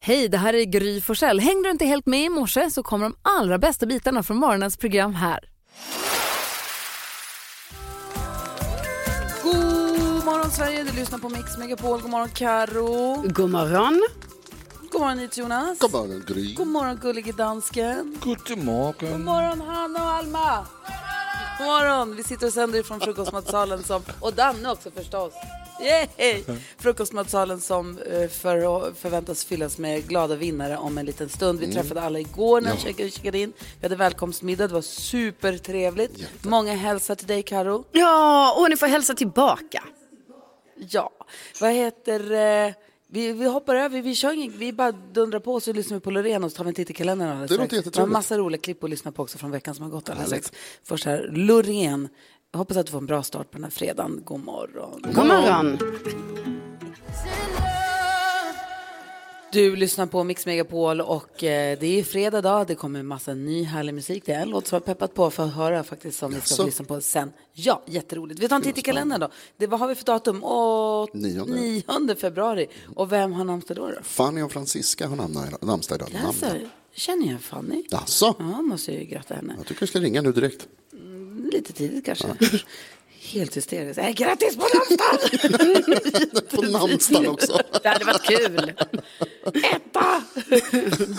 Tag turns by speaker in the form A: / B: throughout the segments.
A: Hej, det här är Gry Forssell. Hängde du inte helt med i morse så kommer de allra bästa bitarna från morgonens program här.
B: God morgon Sverige, du lyssnar på Mix Megapol. God morgon Karo.
C: God morgon.
B: God morgon Jonas.
D: God morgon Gry.
B: God morgon gullige dansken.
D: God morgon.
B: God morgon Hanna och Alma. God morgon. Vi sitter och sänder från frukostmatsalen som, och Danne också förstås. Yay! Frukostmatsalen som eh, för, förväntas fyllas med glada vinnare om en liten stund. Vi
E: Mm.
B: träffade alla igår när
E: Ja.
B: vi kikade in. Vi hade välkomstmiddag, det var supertrevligt.
C: Jätte.
B: Många hälsar till dig Karo.
C: Ja, och ni får hälsa tillbaka.
B: Ja, vad heter... Eh, vi, vi hoppar över, vi kör ingen, vi bara dundrar på så lyssnar vi på Loreen och så tar vi en titt i kalendern alldeles
E: Det
B: strax.
E: låter
B: Vi har
E: jättetrevligt.
B: massa roliga klipp att lyssna på också från veckan som har gått alldeles strax. Först här, Loreen. Jag hoppas att du får en bra start på den här fredagen. God morgon.
C: God morgon.
B: Du lyssnar på Mix Megapol och eh, det är fredag dag. Det kommer en massa ny härlig musik. Det är en låt som jag har peppat på för att höra faktiskt som vi ska få
E: Jaså?
B: lyssna på sen. Ja, jätteroligt. Vi tar en titt i kalendern då. Det, vad har vi för datum? Åh,
D: Nionde.
B: 9 februari. Och vem har namnsdag då? då?
D: Fanny och Franziska har namn- namnsdag idag.
B: Alltså,
D: Namn.
B: känner jag Fanny?
D: Jaså?
B: Ja, måste jag ju gratta henne.
D: Jag tycker du ska ringa nu direkt.
B: Mm, Lite tidigt kanske. Helt hysteriskt. Äh, grattis på namnsdagen!
D: på namnsdagen också.
C: Det hade varit kul.
B: Etta!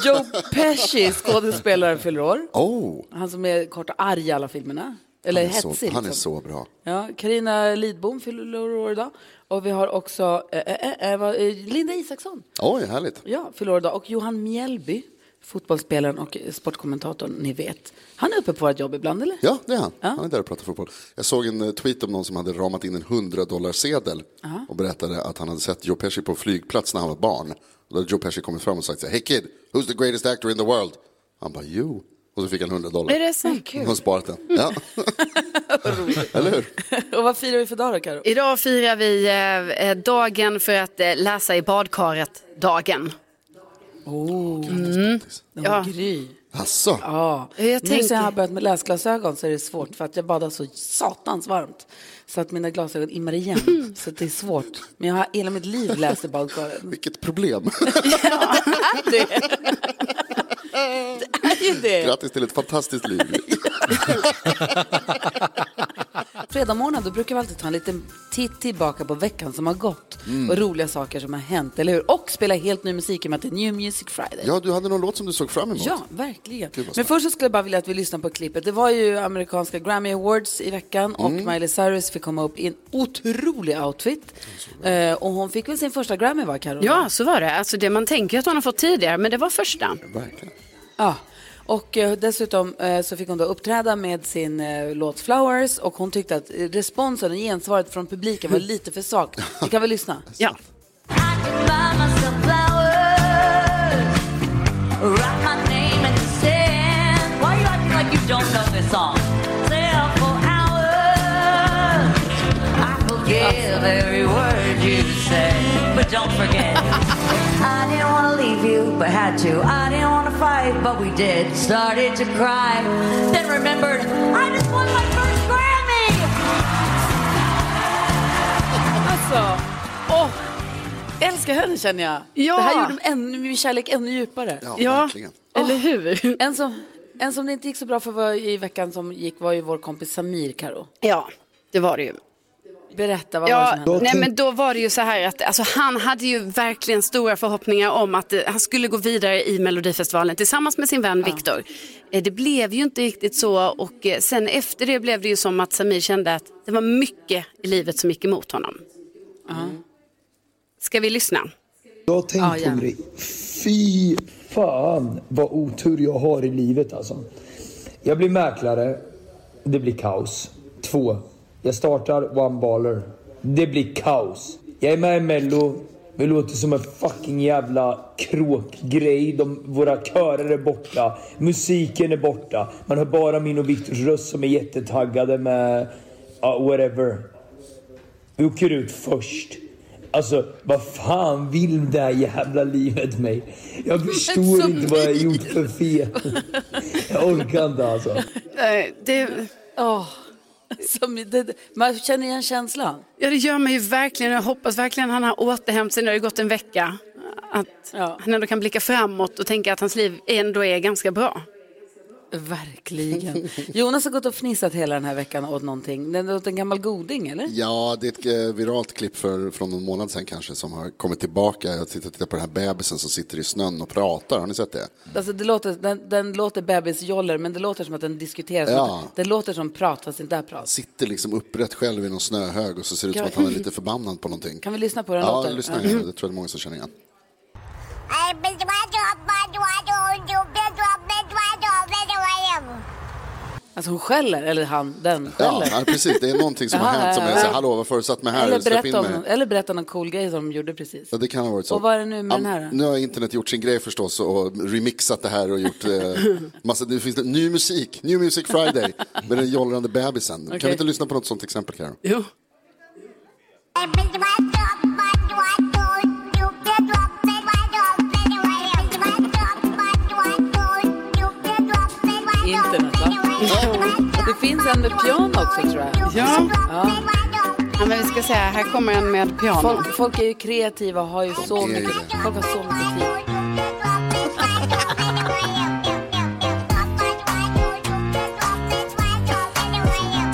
B: Joe Pesci, skådespelaren, fyller år.
D: Oh,
B: Han som är kort och arg i alla filmerna. Eller
D: han, är så,
B: hetsig.
D: han är
B: liksom.
D: så bra.
B: Ja, Carina Lidbom fyller år idag. Och vi har också eh, eh, eh, vad- eh, Linda Isaksson.
D: Oj, härligt.
B: Ja, fyller år idag. Och Johan Mjällby, fotbollsspelaren och sportkommentatorn, ni vet. Han är uppe på vårt jobb ibland, eller?
D: Ja, det är han. Han är där och pratar fotboll. Jag såg en eh, tweet om någon som hade ramat in en 100 dollar sedel
B: Ja.
D: och berättade att han hade sett Joe Pesci på flygplats när han var barn. Och då hade Joe Pesci kommit fram och sagt så här, Hey kid, who's the greatest actor in the world? Han bara, you. Och så fick han 100 dollar. Mm.
C: Är det sant?
D: Han har sparat den. Ja. Eller hur?
B: Och vad firar vi för dag då, Karo?
C: Idag firar vi eh, eh, dagen för att eh, läsa i badkaret-dagen.
B: Oh,
C: Mm. Ja.
B: Gry.
D: Jaså?
B: Ja.
C: Jag
B: Nu
C: tänker-
B: sen jag har börjat med läsglasögon så är det svårt för att jag badar så satans varmt. Så att mina glasögon immar igen. så att det är svårt. Men jag har hela mitt liv läst i badkaret.
D: Vilket problem.
B: Det är ju det.
D: Grattis till ett fantastiskt liv.
B: Fredag morgon, då brukar vi alltid ta en liten titt tillbaka på veckan som har gått.
D: Mm.
B: Och roliga saker som har hänt, eller hur? Och spela helt ny musik i och med att det är New Music Friday.
D: Ja, du hade någon låt som du såg fram emot.
B: Ja, verkligen.
D: Gud, vad
B: Men först så skulle jag bara vilja att vi lyssnar på klippet. Det var ju amerikanska Grammy Awards i veckan
D: Mm.
B: och Miley Cyrus fick komma upp i en otrolig outfit. Eh, och hon fick väl sin första Grammy va, Carolina?
C: Ja, så var det. Alltså det man tänker att hon har fått tidigare, men det var första.
D: Verkligen.
B: Ja. Och eh, dessutom eh, så fick hon då uppträda med sin eh, låt Flowers och hon tyckte att eh, responsen och gensvaret från publiken var lite för svagt. Vi kan väl lyssna?
C: Ja.
F: Forgive every word you say, but don't forget. I didn't want to leave you, but had to. I didn't want to fight, but we did. Started to cry, then remembered I just won my first Grammy.
B: Alltså, åh, älskar henne känner jag.
C: Ja.
B: Det här gjorde ännu, min kärlek ännu djupare.
C: Ja, Ja. verkligen. eller hur?
B: En som, en som det inte gick så bra för var i veckan som gick var ju vår kompis Samir, Karo.
C: Ja, det var det ju.
B: Berätta, vad var
C: Ja,
B: det som hände?
C: nej, men då var det ju så här att alltså, han hade ju verkligen stora förhoppningar om att eh, han skulle gå vidare i Melodifestivalen tillsammans med sin vän Viktor. Eh, Det blev ju inte riktigt så och eh, sen efter det blev det ju som att Samir kände att det var mycket i livet som gick emot honom. Ska vi lyssna?
G: Jag
C: Ja,
G: tänkte
C: gärna.
G: på det. Fy fan vad otur jag har i livet alltså. Jag blir mäklare. Det blir kaos. Två. Jag startar One Baller. Det blir kaos. Jag är med i Mello. Det låter som en fucking jävla kråkgrej. De, våra körer är borta. Musiken är borta. Man hör bara min och Viktors röst som är jättetaggade med... Ja, whatever. Vi åker ut först. Alltså, vad fan vill det här jävla livet mig? Jag förstår inte vad jag har gjort för fel. Jag orkar inte alltså.
C: Nej, Eh, det...
B: Åh, Samir, det, det- man känner igen känslan.
C: Ja, det gör mig ju verkligen. Jag hoppas verkligen han har återhämtat sig när det gått en vecka. Att
B: Ja.
C: han ändå kan blicka framåt och tänka att hans liv ändå är ganska bra.
B: Verkligen. Jonas har gått och fnissat hela den här veckan åt någonting. Det är åt en gammal goding, eller?
D: Ja, det är ett eh, viralt klipp för, från någon månad sedan kanske som har kommit tillbaka. Jag tittar, tittar på den här bebisen som sitter i snön och pratar. Har ni sett det?
B: Alltså det låter, den, den låter bebisjoller, men det låter som att den diskuteras.
D: Ja.
B: Det låter som prat, fast inte är prat.
D: Sitter liksom upprätt själv i någon snöhög och så ser det ut som
B: Ja.
D: att han är lite förbannad på någonting.
B: Kan vi lyssna på hur den
D: Ja,
B: låter?
D: lyssna gärna. Det tror jag det är många som känner igen.
B: Alltså hon skäller, eller han, den
D: Ja,
B: skäller.
D: ja, precis. Det är någonting som har
B: Ja,
D: hänt som
B: ja,
D: är
B: ja.
D: så här, hallå, varför har du satt mig här?
B: eller,
D: Släpp in
B: berätta om,
D: mig."
B: någon- eller berätta någon cool grej som de gjorde precis.
D: Ja, det kan ha varit så.
B: Och vad är det nu med
D: Ja,
B: den här då?
D: Nu har internet gjort sin grej förstås och remixat det här och gjort eh, massa, det finns ny musik, New Music Friday med den jollrande bebisen. Kan
B: Okej.
D: vi inte lyssna på något sånt exempel Karo?
C: Jo.
B: Internet, va? Det finns en med piano också, tror jag.
C: Ja. ja, men vi ska säga här kommer en med piano.
B: Folk, folk är ju kreativa och har ju så
D: är ju
B: mycket,
D: det.
B: folk har så mycket tid.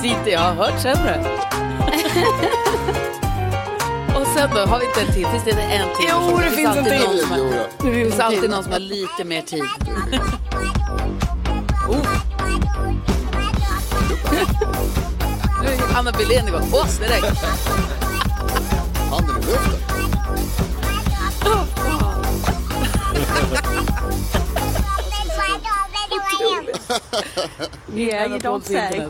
B: Inte jag har hört sämre. och sen då, har vi inte en till? Finns det inte en till?
C: Jo, det finns en
B: alltid
C: till.
B: någon som har-
D: Jo,
B: Det finns alltid någon som har lite mer tid. Oh. Nu är Anna Billén igång. Åh, direkt.
D: Handen i luften.
E: Yeah, you don't say.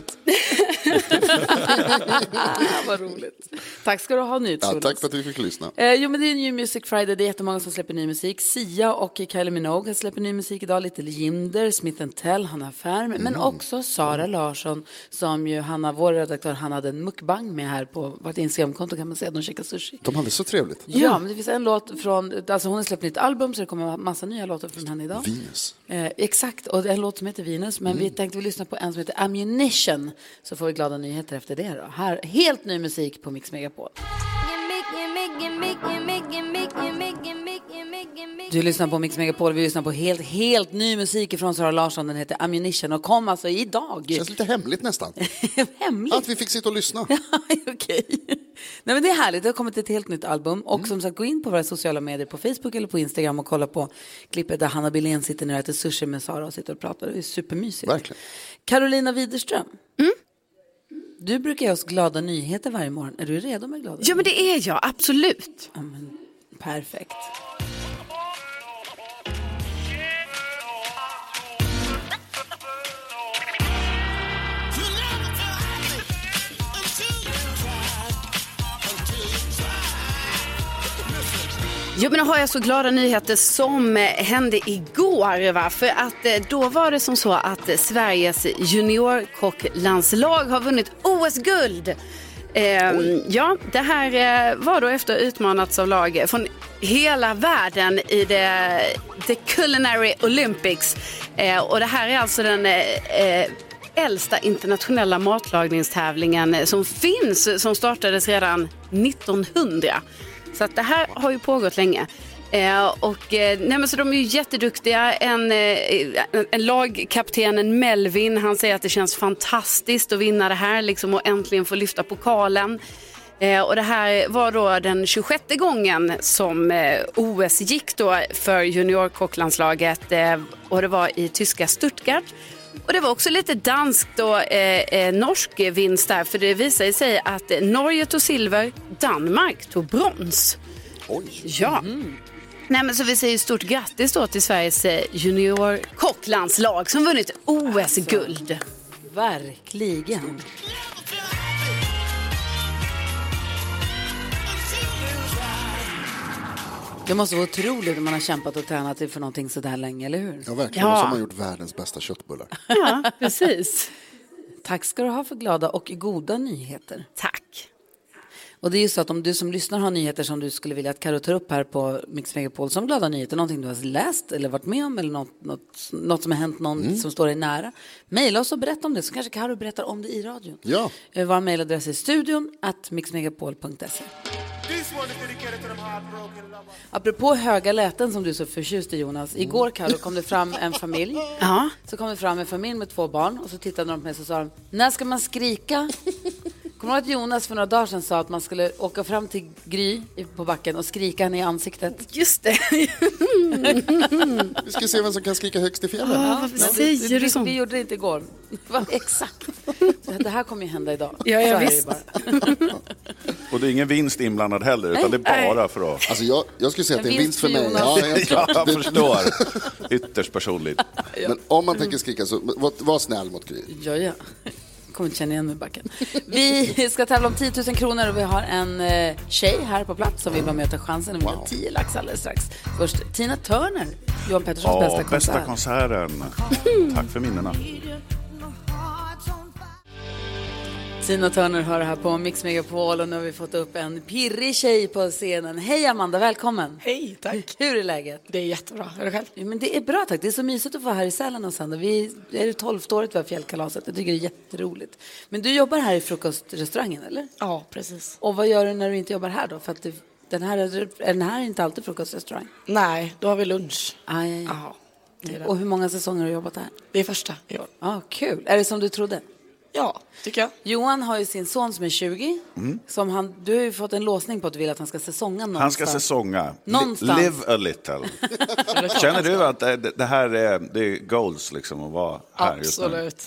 B: Vad roligt. Tack ska du ha,
D: Ja,
B: NyhetsJonas.
D: tack för att vi fick lyssna.
B: Eh, jo, men det är New Music Friday. Det är jättemånga som släpper ny musik. Sia och Kylie Minogue släpper ny musik idag. Little Jinder, Smith Tell, Hanna Färm. Men också Sara Larsson, som ju Hanna, vår redaktör, han hade en mukbang med här på vårt Instagramkonto kan man säga. De käkar sushi.
D: De hade så trevligt.
B: Ja, men det finns en låt från, alltså hon har släppt nytt album så det kommer massa nya låtar från henne idag.
D: Venus.
B: Eh, exakt, och det är en låt som heter Venus, men vi tänkte vi lyssna på en som heter Ammunition, så får vi glada nyheter efter det då. Här, helt ny musik på Mix Megapol. Du lyssnar på Mix Megapol, vi lyssnar på helt, helt ny musik från Sara Larsson, den heter Ammunition och kom alltså idag.
D: Känns lite hemligt nästan.
B: Hemligt.
D: Att vi fick sitta och lyssna.
B: Okej. Nej men det är härligt, det har kommit ett helt nytt album.
D: Mm.
B: Och som sagt, gå in på våra sociala medier på Facebook eller på Instagram och kolla på klippet där Hanna Billén sitter nu och äter sushi med Sara och sitter och pratar. Det är supermysigt.
D: Verkligen.
B: Carolina Widerström.
C: Mm.
B: Du brukar ge oss glada nyheter varje morgon. Är du redo med glada
C: Ja, men det är jag, absolut.
B: Ja, men perfekt.
C: Jo, men då har jag så glada nyheter som eh, hände igår. Va? För att eh, då var det som så att eh, Sveriges juniorkocklandslag har vunnit OS-guld. Ehm, ja, det här eh, var då efter utmanats av lag från hela världen i det, The Culinary Olympics. Eh, och det här är alltså den eh, eh, äldsta internationella matlagningstävlingen eh, som finns, eh, som startades redan 1900. Så att det här har ju pågått länge. Eh, och, eh, nej men så de är ju jätteduktiga. En, eh, en, en lagkaptenen Melvin han säger att det känns fantastiskt att vinna det här liksom, och äntligen få lyfta pokalen. Eh, och det här var då den 26 gången som eh, OS gick då för juniorkocklandslaget eh, och det var i tyska Stuttgart. Och det var också lite danskt och eh, eh, norsk vinst där för det visade sig att eh, Norge tog silver, Danmark tog brons.
D: Oj.
C: Ja. Nej, men så vi säger stort grattis då till Sveriges eh, juniorkocklandslag som vunnit OS-guld.
B: Verkligen. Det måste vara otroligt när man har kämpat och tränat för någonting så där länge, eller hur?
D: Ja, verkligen.
C: Ja.
D: Och så har man gjort världens bästa köttbullar.
C: Ja, precis.
B: Tack ska du ha för glada och goda nyheter.
C: Tack.
B: Och det är ju så att om du som lyssnar har nyheter som du skulle vilja att Karo tar upp här på Mix Megapol som glada nyheter, någonting du har läst eller varit med om eller något, något, något som har hänt någon som står dig nära, mejla oss och berätta om det så kanske Karo berättar om det i radion.
D: Ja.
B: Eh, Vår mejladress är studion at mixmegapol.se. Apropå höga läten som du är så förtjust i Jonas. Igår Karo, kom det fram en familj.
C: Ja.
B: Så kom det fram en familj med två barn och så tittade de på mig och så sa de, när ska man skrika? Kommer du ihåg att Jonas för några dagar sedan sa att man skulle åka fram till Gry i- på backen och skrika henne i ansiktet?
C: Just det.
D: Vi ska se vem som kan skrika högst i fjällen.
C: Ja, varför säger du
B: vi,
C: så?
B: vi gjorde det inte igår. Va, Exakt. Så Det här kommer ju hända idag.
C: Ja, ja,
B: så är det ju
C: visst.
B: bara.
H: Och det är ingen vinst inblandad heller, utan det är bara för att...
D: Alltså jag, jag skulle säga att det är en vinst för mig.
B: Jonas.
D: Ja, helt
H: Ja,
D: klart.
H: jag
D: Det-
H: förstår. Ytterst personligt.
D: Men om
B: Mm.
D: man tänker skrika så, var, var snäll mot Gry.
B: Ja, ja. Kommer inte känna igen mig i backen. Vi ska tävla om 10 000 kronor och vi har en eh, tjej här på plats som vill vara med och ta chansen. Vi har 10 lax alldeles strax. Först Tina Turner, Johan Petterssons
H: Ja,
B: bästa
H: bästa,
B: konsert.
H: konserten. Tack för minnena.
B: Tina Turner hör här på Mix Megapol och nu har vi fått upp en pirrig tjej på scenen. Hej Amanda, välkommen!
I: Hej, tack.
B: Hur är läget?
I: Det är jättebra. Är du själv?
B: Ja, men det är bra tack. Det är så mysigt att vara här i Sälen och sända. Vi är det tolfte året vi har fjällkalaset. Jag tycker det är jätteroligt. Men du jobbar här i frukostrestaurangen, eller?
I: Ja, precis.
B: Och vad gör du när du inte jobbar här då? För att du, den, här, är- den här är inte alltid frukostrestaurang.
I: Nej, då har vi lunch.
B: Aj, aj, aj.
I: Ja, det är det.
B: Och hur många säsonger har du jobbat här?
I: Det är första i år.
B: Ja, kul. Är det som du trodde?
I: Ja, tycker jag.
B: Johan har ju sin son som är 20. Som han, du har ju fått en låsning på att du vill att han ska säsonga någonstans.
H: Mm. Han ska säsonga. Li-
B: Någonstans.
H: Live a little. Känner du att det, det här är, det är goals liksom att vara här just nu?
I: Absolut.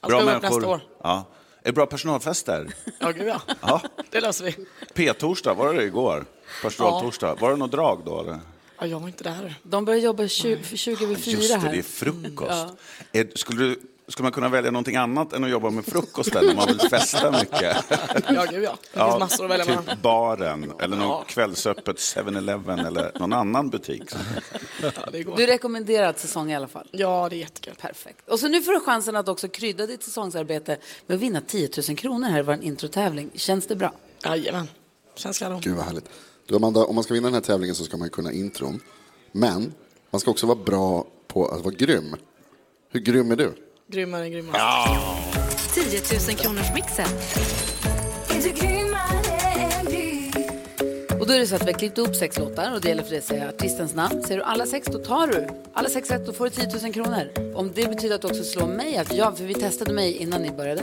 I: Han ska vara upp nästa år.
H: Ja. Är det bra personalfester?
I: Ja, gud ja.
H: Ja.
I: Det löser vi.
H: P-torsdag, var det det igår? Personaltorsdag. Var det något drag då? Eller?
I: Ja, jag var inte där.
B: De börjar jobba 20, för 20 över 4
H: Mm. Just det,
B: här.
H: det är frukost.
I: Mm,
H: Är, skulle, du, skulle man kunna välja någonting annat än att jobba med frukosten när man vill festa mycket?
I: Ja, gud ja. Det finns massor att välja mellan.
H: typ baren eller någon
I: Ja.
H: kvällsöppet 7-Eleven eller någon annan butik.
I: Ja, det går.
B: Du rekommenderar att säsonga i alla fall.
I: Ja, det är jättekul.
B: Perfekt. Och så nu får du chansen att också krydda ditt säsongsarbete med att vinna 10 000 kronor här i vår introtävling. Känns det bra?
I: Jajamän. Känns kanon.
D: Gud vad härligt. Du Amanda, om man ska vinna den här tävlingen så ska man ju kunna intron. Men man ska också vara bra på att vare grym. Hur grym är du?
I: Grymmare än grymmast.
J: 10 000 kronors mixen.
B: Och då är det så att vi har klippt upp sex låtar och det gäller för dig att säga artistens namn. Säger du alla sex, då tar du alla sex rätt, då får du 10 000 kronor. Om det betyder att du också slår mig, att jag, för vi testade mig innan ni började,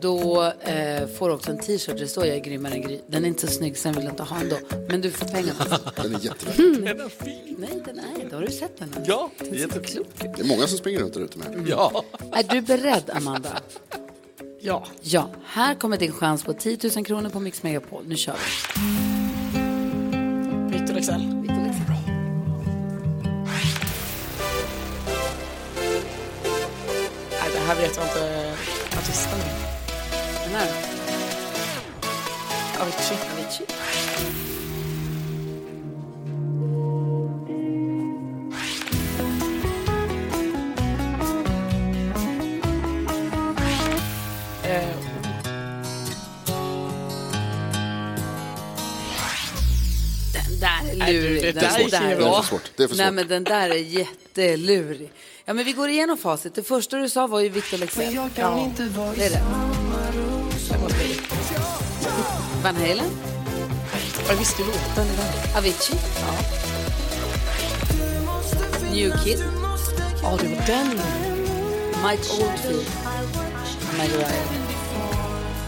B: då eh, får du också en t-shirt där det står jag är grymmare än Gry. Den är inte så snygg, sen vill jag inte ha den då. Men du får pengar på den.
D: Den är jättebra.
B: Nej, den är det. Har du sett den? här?
K: Ja,
B: den är så klok. ut.
D: Det är många som springer runt där ute med.
K: Ja.
B: Är du beredd, Amanda?
I: Ja.
B: Ja, här kommer din chans på 10 000 kronor på Mix Megapol. Nu kör vi.
I: Victor Excel. Nej, det här vet jag inte artisten.
B: Den här.
I: Avicii.
B: Avicii.
I: Eh,
B: Ehm. Den där är
I: Nej, du,
B: lurig.
I: det
B: Den
I: där gick ju
D: Det är
I: Ja.
D: för svårt. Det är för
B: Nej,
D: svårt.
B: men den där är jättelurig. Ja, men vi går igenom facit. Det första du sa var ju Victor Leksell. Jag kan inte vara Det är det. Van Halen,
I: jag visste ju låten. i den.
B: Avicii. New Kid,
I: Ja, det var den.
B: Mike Oldfield, Mariah.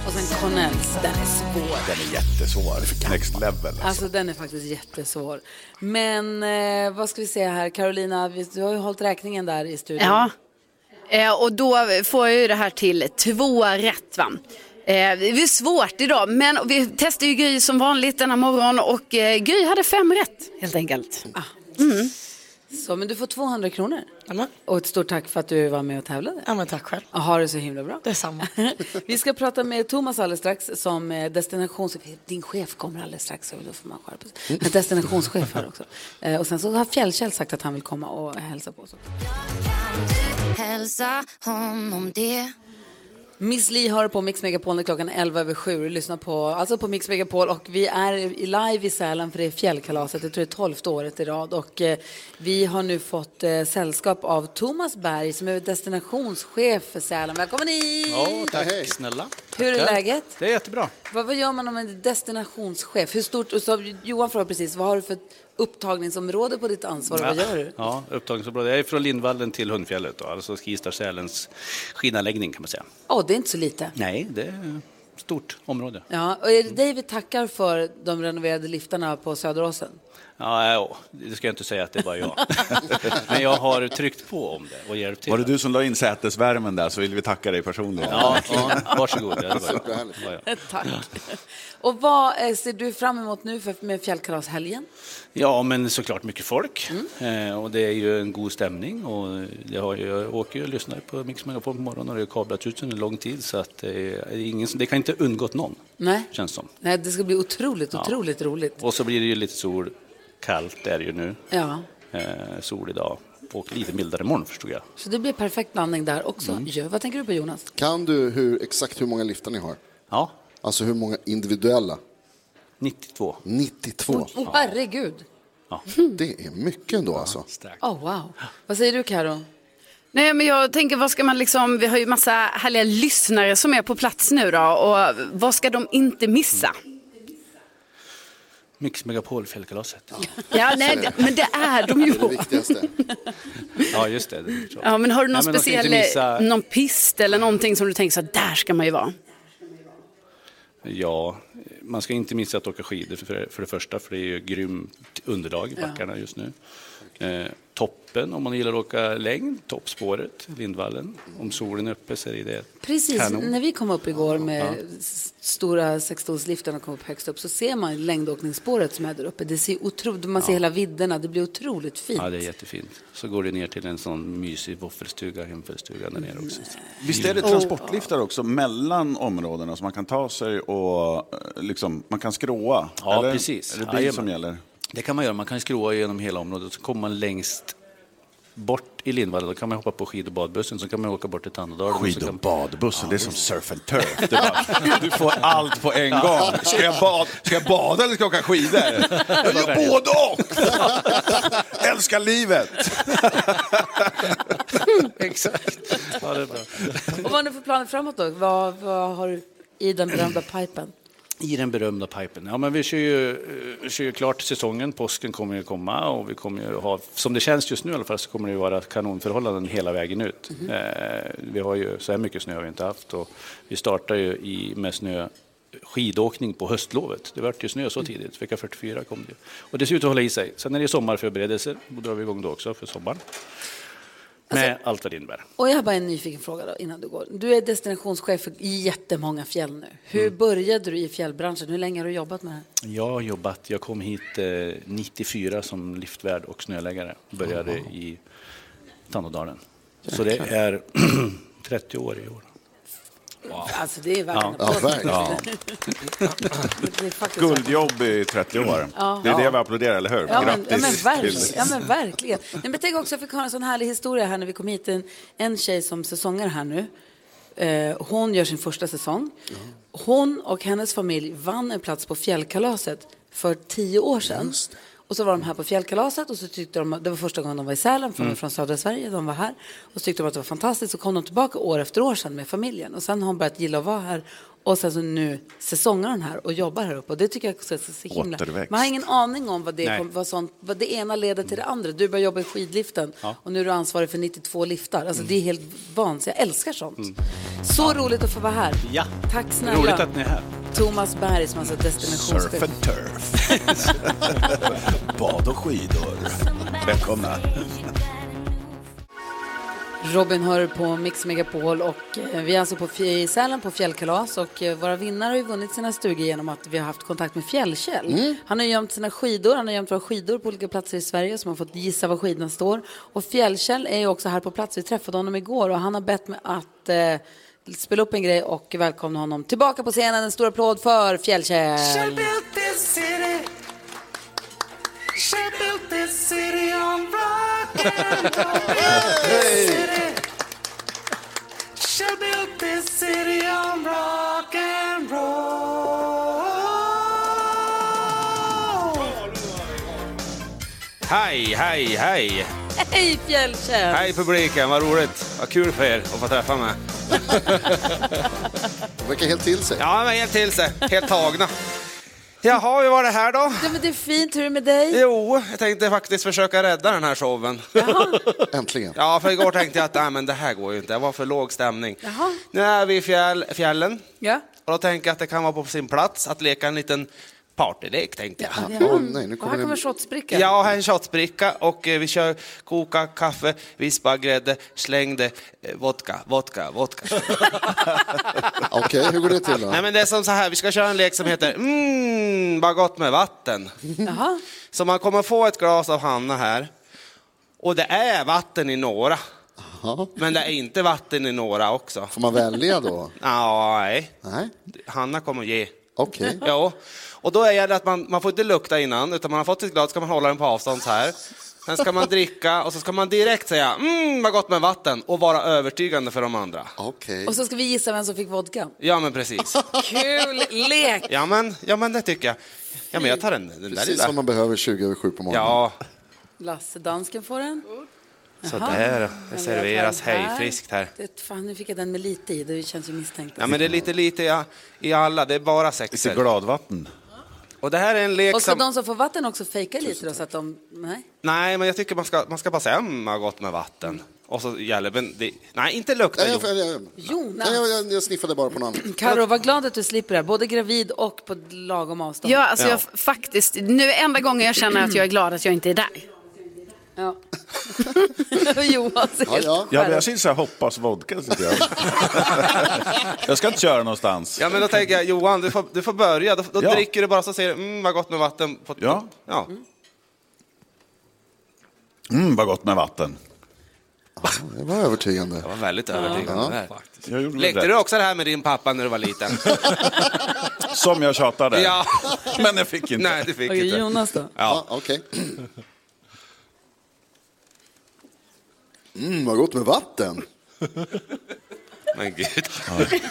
B: Och sen Connells. Den är svår.
H: Den är jättesvår. Next level. Alltså.
B: Alltså den är faktiskt jättesvår. Men eh, vad ska vi säga här? Carolina, vi- du har ju hållit räkningen där i studion.
C: Ja, eh, och då får jag ju det här till två rätt. Va? Eh, det är svårt idag, men vi testar ju Gry som vanligt denna morgon och eh, Gry hade fem rätt helt enkelt.
B: Så, men du får 200 kronor.
I: Ja, men.
B: Och ett stort tack för att du var med och tävlade.
I: Ja, men tack själv.
B: Och ha det så himla bra.
I: Detsamma.
B: Vi ska prata med Thomas alldeles strax som eh, destinations... Din chef kommer alldeles strax. Så då får man skärpa sig. Men Destinationschef här också. Eh, Och sen så har Fjällkäll sagt att han vill komma och hälsa på oss.
L: Hälsa honom det.
B: Miss Li hör på Mix Megapol när klockan är 11 över 7 och lyssnar på, alltså på Mix Megapol och vi är i- live i Sälen för det är fjällkalaset, jag tror det är tolfte året i rad och eh, vi har nu fått eh, sällskap av Thomas Berg som är destinationschef för Sälen. Välkommen hit!
K: ja, tack
D: Hej.
K: snälla.
B: Hur är läget?
K: Det är jättebra.
B: Vad, vad gör man om man är destinationschef? Hur stort, och så, Johan frågade precis, vad har du för ett upptagningsområde på ditt ansvar och vad gör du?
K: Ja, upptagningsområde. Jag är från Lindvallen till Hundfjället, då, alltså Skistar-Sälens skidanläggning kan man säga.
B: Åh, det är inte så lite.
K: Nej, det är ett stort område.
B: Ja, och är det dig vi tackar för de renoverade liftarna på Söderåsen?
K: Ja, ja, det ska jag inte säga att det är bara jag. Men jag har tryckt på om det och hjälpt till.
E: Var det du som la in sätesvärmen där så vill vi tacka dig personligen.
K: Ja, ja, varsågod. Ja, det var jag.
D: Superhärligt.
K: Det var jag.
B: Tack. Och vad eh, ser du fram emot nu för, med fjällkalashelgen?
K: Ja, men såklart mycket folk. Eh, och det är ju en god stämning. Och jag, har, ju- jag åker ju och lyssnar på Mix Megapol på morgonen och det är kablat ut under lång tid. Så att, eh, det är ingen, som- det kan inte undgått någon,
B: Nej.
K: känns som.
B: Nej, det ska bli otroligt, otroligt roligt.
K: Och så blir det ju lite sol. Kallt är det ju nu.
B: Ja,
K: Eh, sol idag. Och lite mildare morgon förstod jag.
B: så det blir perfekt blandning där också.
K: Mm.
B: Ja, vad tänker du på Jonas?
D: Kan du hur, exakt hur många liftar ni har?
K: Ja,
D: Alltså hur många individuella?
K: 92.
D: 92.
B: Åh herregud!
D: Det är mycket ändå alltså.
B: Oh, wow. Vad säger du Karo?
C: Nej, men jag tänker, vad ska man liksom, vi har ju massa härliga lyssnare som är på plats nu då och vad ska de inte missa?
K: Mix Megapol fjällkalaset.
C: Ja, nej, det- men det är de ju.
D: Det är det viktigaste.
K: Ja, just det. det är klart.
C: Ja, men har du någon
K: Nej, men de ska
C: speciell, eh,
K: inte missa-
C: någon pist eller någonting som du tänker så här, där ska man ju vara?
K: Ja, man ska inte missa att åka skidor för, för det första, för det är ju grymt underlag i backarna just nu. Eh, toppen, om man gillar att åka längd, toppspåret, Lindvallen. Om solen är uppe så är det det.
B: Precis,
K: Kanon.
B: när vi kom upp igår med s- stora sexstolsliften och kom upp högst upp så ser man längdåkningsspåret som är där uppe. Det ser otroligt, man ser hela vidderna, det blir otroligt fint.
K: Ja, det är jättefint. Så går det ner till en sån mysig våffelstuga, hemfällstuga där nere också.
E: Visst är det transportliftar också mellan områdena så man kan ta sig och eh, liksom, man kan skråa?
K: Ja,
E: eller?
K: precis.
E: Är det bil
K: Jajamän.
E: som gäller?
K: Det kan man göra, man kan skroa genom hela området och så kommer man längst bort i Lindvallen, då kan man hoppa på skid och badbussen, så kan man åka bort till Tandådalen. och så
E: Skid och
K: kan-
E: badbussen, det är som surf and turf. Det är bara, du får allt på en gång. Ska jag, bad, ska jag bada eller ska jag åka skidor? Jag gör både och! Älskar livet!
K: Exakt. Ja, det är bra.
B: Och vad har ni för planer framåt då? Vad, vad har du i den berömda pipen?
K: I den berömda pipen. Ja, men vi kör ju, eh, kör ju klart säsongen. Påsken kommer ju komma och vi kommer ju ha, som det känns just nu i alla fall, så kommer det ju vara kanonförhållanden hela vägen ut.
E: Mhm.
K: Eh, vi har ju, så här mycket snö har vi inte haft och vi startar ju i, med snö skidåkning på höstlovet. Det vart ju snö så tidigt, vecka 44 kom det. ju. Och det ser ut att hålla i sig. Sen är det sommarförberedelser, då drar vi igång då också för sommaren. Med allt vad det innebär.
B: Och jag har bara en nyfiken fråga då, innan du går. Du är destinationschef för jättemånga fjäll nu. Hur
K: Mm.
B: började du i fjällbranschen? Hur länge har du jobbat med det här?
K: Jag har jobbat, jag kom hit eh, 94 som liftvärd och snöläggare. Började i Tandådalen. Så det är 30 år i år.
B: Alltså det är värt en
D: Ja,
B: applåd.
D: verkligen.
B: Det är faktiskt värt-
E: Guldjobb i 30 år.
M: Mm.
E: Det är det vi applåderar, eller hur?
B: Ja men,
E: Grattis!
B: ja, men verkligen.
E: till-
B: Ja, men verkligen. Nej, men tänk också, jag fick höra en sån härlig historia här när vi kom hit. En, en tjej som säsongar här nu. Eh, hon gör sin första säsong. Hon och hennes familj vann en plats på Fjällkalaset för tio år sedan. Och så var de här på Fjällkalaset och så tyckte de, det var första gången de var i Sälen,
E: Mm.
B: för de är från södra Sverige, de var här. Och så tyckte de att det var fantastiskt, så kom de tillbaka år efter år sedan med familjen. Och sen har hon börjat gilla att vara här. Och sen så nu säsongar hon här och jobbar här uppe. Och det tycker jag också är så himla...
E: Återväxt.
B: Man har ingen aning om vad det,
K: Nej.
B: kom, vad sånt, vad det ena leder till det andra. Du börjar jobba i skidliften och nu är du ansvarig för 92 liftar. Alltså, Det är helt vansinnigt. Jag älskar sånt. Så roligt att få vara här.
K: Mm. Ja.
B: Tack snälla.
K: Roligt att ni är här.
B: Thomas Berg som alltså är destinationschef.
E: Surf and turf. Bad och skidor. Välkomna.
B: Robin hör på Mix Megapol och eh, vi är alltså på, fj- i Sälen på fjällkalas och eh, våra vinnare har ju vunnit sina stugor genom att vi har haft kontakt med Fjällkäll. Han har ju gömt sina skidor, han har gömt våra skidor på olika platser i Sverige som har fått gissa var skidorna står. Och Fjällkäll är ju också här på plats, vi träffade honom igår och han har bett mig att eh, spela upp en grej och välkomna honom tillbaka på scenen. En stor applåd för Fjällkäll!
K: Hej, hej, hej!
B: Hej Fjällkäll!
M: Hej publiken, vad roligt. Vad kul för er att få träffa mig.
D: De verkar helt till sig.
M: Ja, men helt till sig. Helt tagna. Jaha, hur var det här då?
B: Ja, men det är fint, hur är det med dig?
M: Jo, jag tänkte faktiskt försöka rädda den här showen.
D: Äntligen.
M: Ja, för igår tänkte jag att nej, men det här går ju inte, det var för låg stämning.
B: Jaha.
M: Nu är vi i fjäll, fjällen
B: Ja.
M: och då tänker jag att det kan vara på sin plats att leka en liten partylek, tänkte jag.
D: Åh nej, nu
B: Och
D: kommer
B: här
D: det...
B: kommer shotsbrickan.
M: Ja, här är en shotsbricka och eh, vi kör koka kaffe, vispa grädde, släng det, eh, vodka, vodka, vodka.
D: Okej, hur går det till då?
M: Nej, men det är som så här, vi ska köra en lek som heter mm, vad gott med vatten.
B: Jaha.
M: Så man kommer få ett glas av Hanna här. Och det är vatten i några,
D: Ja.
M: men det är inte vatten i några
B: Mm.
M: också.
D: Får man välja då?
M: Nej,
D: Nej,
M: Hanna kommer att ge.
D: okej.
M: Ja, och då är det att man, man får inte lukta innan, utan man har fått sitt glas ska man hålla den på avstånd så här. Sen ska man dricka och så ska man direkt säga mm, vad gott med vatten och vara övertygande för de andra.
D: Okej.
B: Och så ska vi gissa vem som fick vodka.
M: Ja, men precis.
B: Kul lek!
M: Ja, men, ja, men det tycker jag. Ja, men jag tar den, den där
D: Precis som
M: lilla.
D: man behöver 20 över 7 på morgonen.
M: Ja,
B: Lasse dansken får en.
M: så där. Det serveras
B: Jag tar den
M: hejfriskt här.
B: Det, fan, nu fick jag den med lite i, det känns ju misstänkt.
M: Ja, men det är lite lite i, i alla, det är bara
E: Lite
M: sexer.
E: gladvatten.
M: Och det här är en lek
B: Och ska
M: som...
B: de som får vatten också fejka lite då så att de... Nej.
M: Nej, men jag tycker man ska, man ska bara säga mm, vad gott med vatten. Och så gäller men det... Nej, inte
D: Nej,
M: lukta.
D: jag,
M: jo.
D: jag, jag,
B: Jonas.
D: nej, jag, jag, jag sniffade bara på någon annan.
B: Karo, vad glad att du slipper det här, både gravid och på lagom avstånd.
C: Ja, alltså
M: Ja.
C: jag f- faktiskt, nu är enda gången jag känner att jag är glad att jag inte är där.
B: Ja. Johan ser
D: Ja,
B: helt
D: ja.
E: Ja, men jag ser så här hoppas vodka. tycker Jag. jag ska inte köra någonstans.
M: Ja, men då tänker jag Johan, du får, du får börja. Då, då
E: Ja.
M: dricker du bara så säger du mm, vad gott med vatten. På,
E: Ja.
M: ja.
E: Mm, vad gott med vatten.
D: Det var övertygande.
M: Det var väldigt övertygande. det där.
E: Jag gjorde väl
M: Lekte
E: rätt.
M: du också det här med din pappa när du var liten?
E: Som jag tjatade.
M: Ja.
E: Men jag fick inte.
M: Nej, det fick
B: Okej,
M: inte.
B: Jonas då?
D: Ja, okej. Mm, vad gott med vatten.
M: Men gud.
E: Det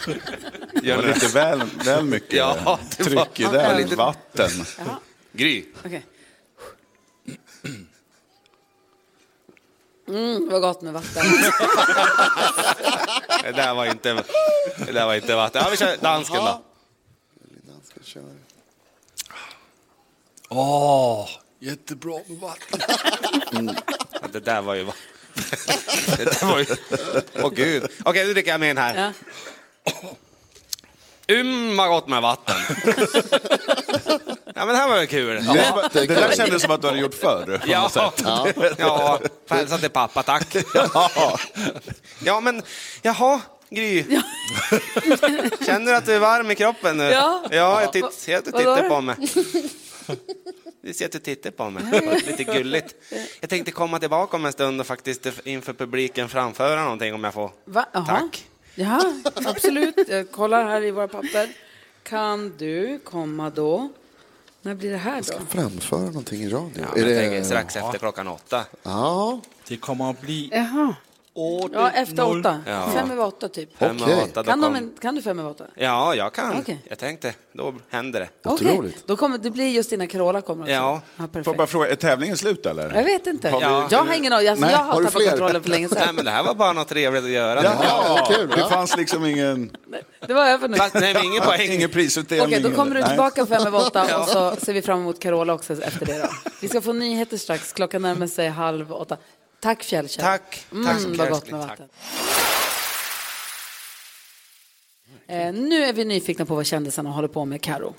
M: Gör
E: var
M: det.
E: lite väl, väl mycket
M: Ja, det var-
E: tryck i det här
M: Ja, lite-
E: vatten.
M: Gry.
B: Okej. Mm, vad gott med vatten.
M: Det där var inte, det där var inte vatten. Ja, vi kör dansken då.
D: Danska kör.
E: Jättebra med vatten.
M: Ja, Det där var ju... Det där var ju... Åh gud. Okej, nu dricker jag med en här.
B: Ja.
M: Mm, vad gott med vatten. Ja, men det här var väl kul.
E: Det, det där
D: Jättekul.
E: kändes som att du hade gjort förr. på
M: Ja,
E: något sätt.
M: ja. ja. Får hälsa till pappa, tack. Ja, men jaha, Gry. Känner du att du är varm i kroppen nu?
B: Ja.
M: ja jag titt, ser att du
B: Vad var
M: tittar
B: det?
M: på mig. Du ser att du tittar på mig. Lite gulligt. Jag tänkte komma tillbaka om en stund och faktiskt inför publiken framföra någonting om jag får.
B: Va? Jaha.
M: Tack.
B: Ja, absolut. Jag kollar här i våra papper. Kan du komma då? När blir det här då?
D: Framföra någonting i radio.
M: Ja,
D: är
M: men jag
D: det...
M: tänker strax efter klockan åtta.
D: Ja,
H: Det kommer att bli
C: Jaha.
B: Ja, efter åtta.
M: Ja.
B: Fem över åtta typ.
M: Fem och
D: Okej.
M: åtta, då
B: Kan, de,
M: kom-
B: en- kan du fem över åtta?
M: Ja, jag kan.
B: Okej.
M: Jag tänkte, då händer det.
B: Okej.
D: Otroligt.
B: Då kommer, det blir just innan Carola kommer också.
M: Ja.
E: Får
B: perfekt.
E: jag bara fråga, är tävlingen slut eller?
B: Jag vet inte.
E: Har vi-
M: Ja.
B: Jag har ingen aning. Alltså,
D: Nej,
B: jag har,
D: har du
B: tappat
D: fler?
B: kontrollen för länge
M: Nej,
B: sedan.
M: men det här var bara något trevligt att göra.
D: Ja, vad kul,
E: det
D: ja.
E: fanns liksom ingen,
B: Det var över nu.
M: Fast, nej, men ingen poäng.
E: ingen prisutdelning.
B: Okej, då kommer du
E: Nej.
B: tillbaka fem över åtta och så ser vi fram emot Carola också efter det. Då. Vi ska få nyheter strax. Klockan närmar sig halv åtta. Tack Fjällkäll.
M: Tack.
B: Mm,
M: Tack så mycket,
B: vad gott med
M: älskling. Tack.
B: vatten. Eh, nu är vi nyfikna på vad kändisarna håller på med, Karo.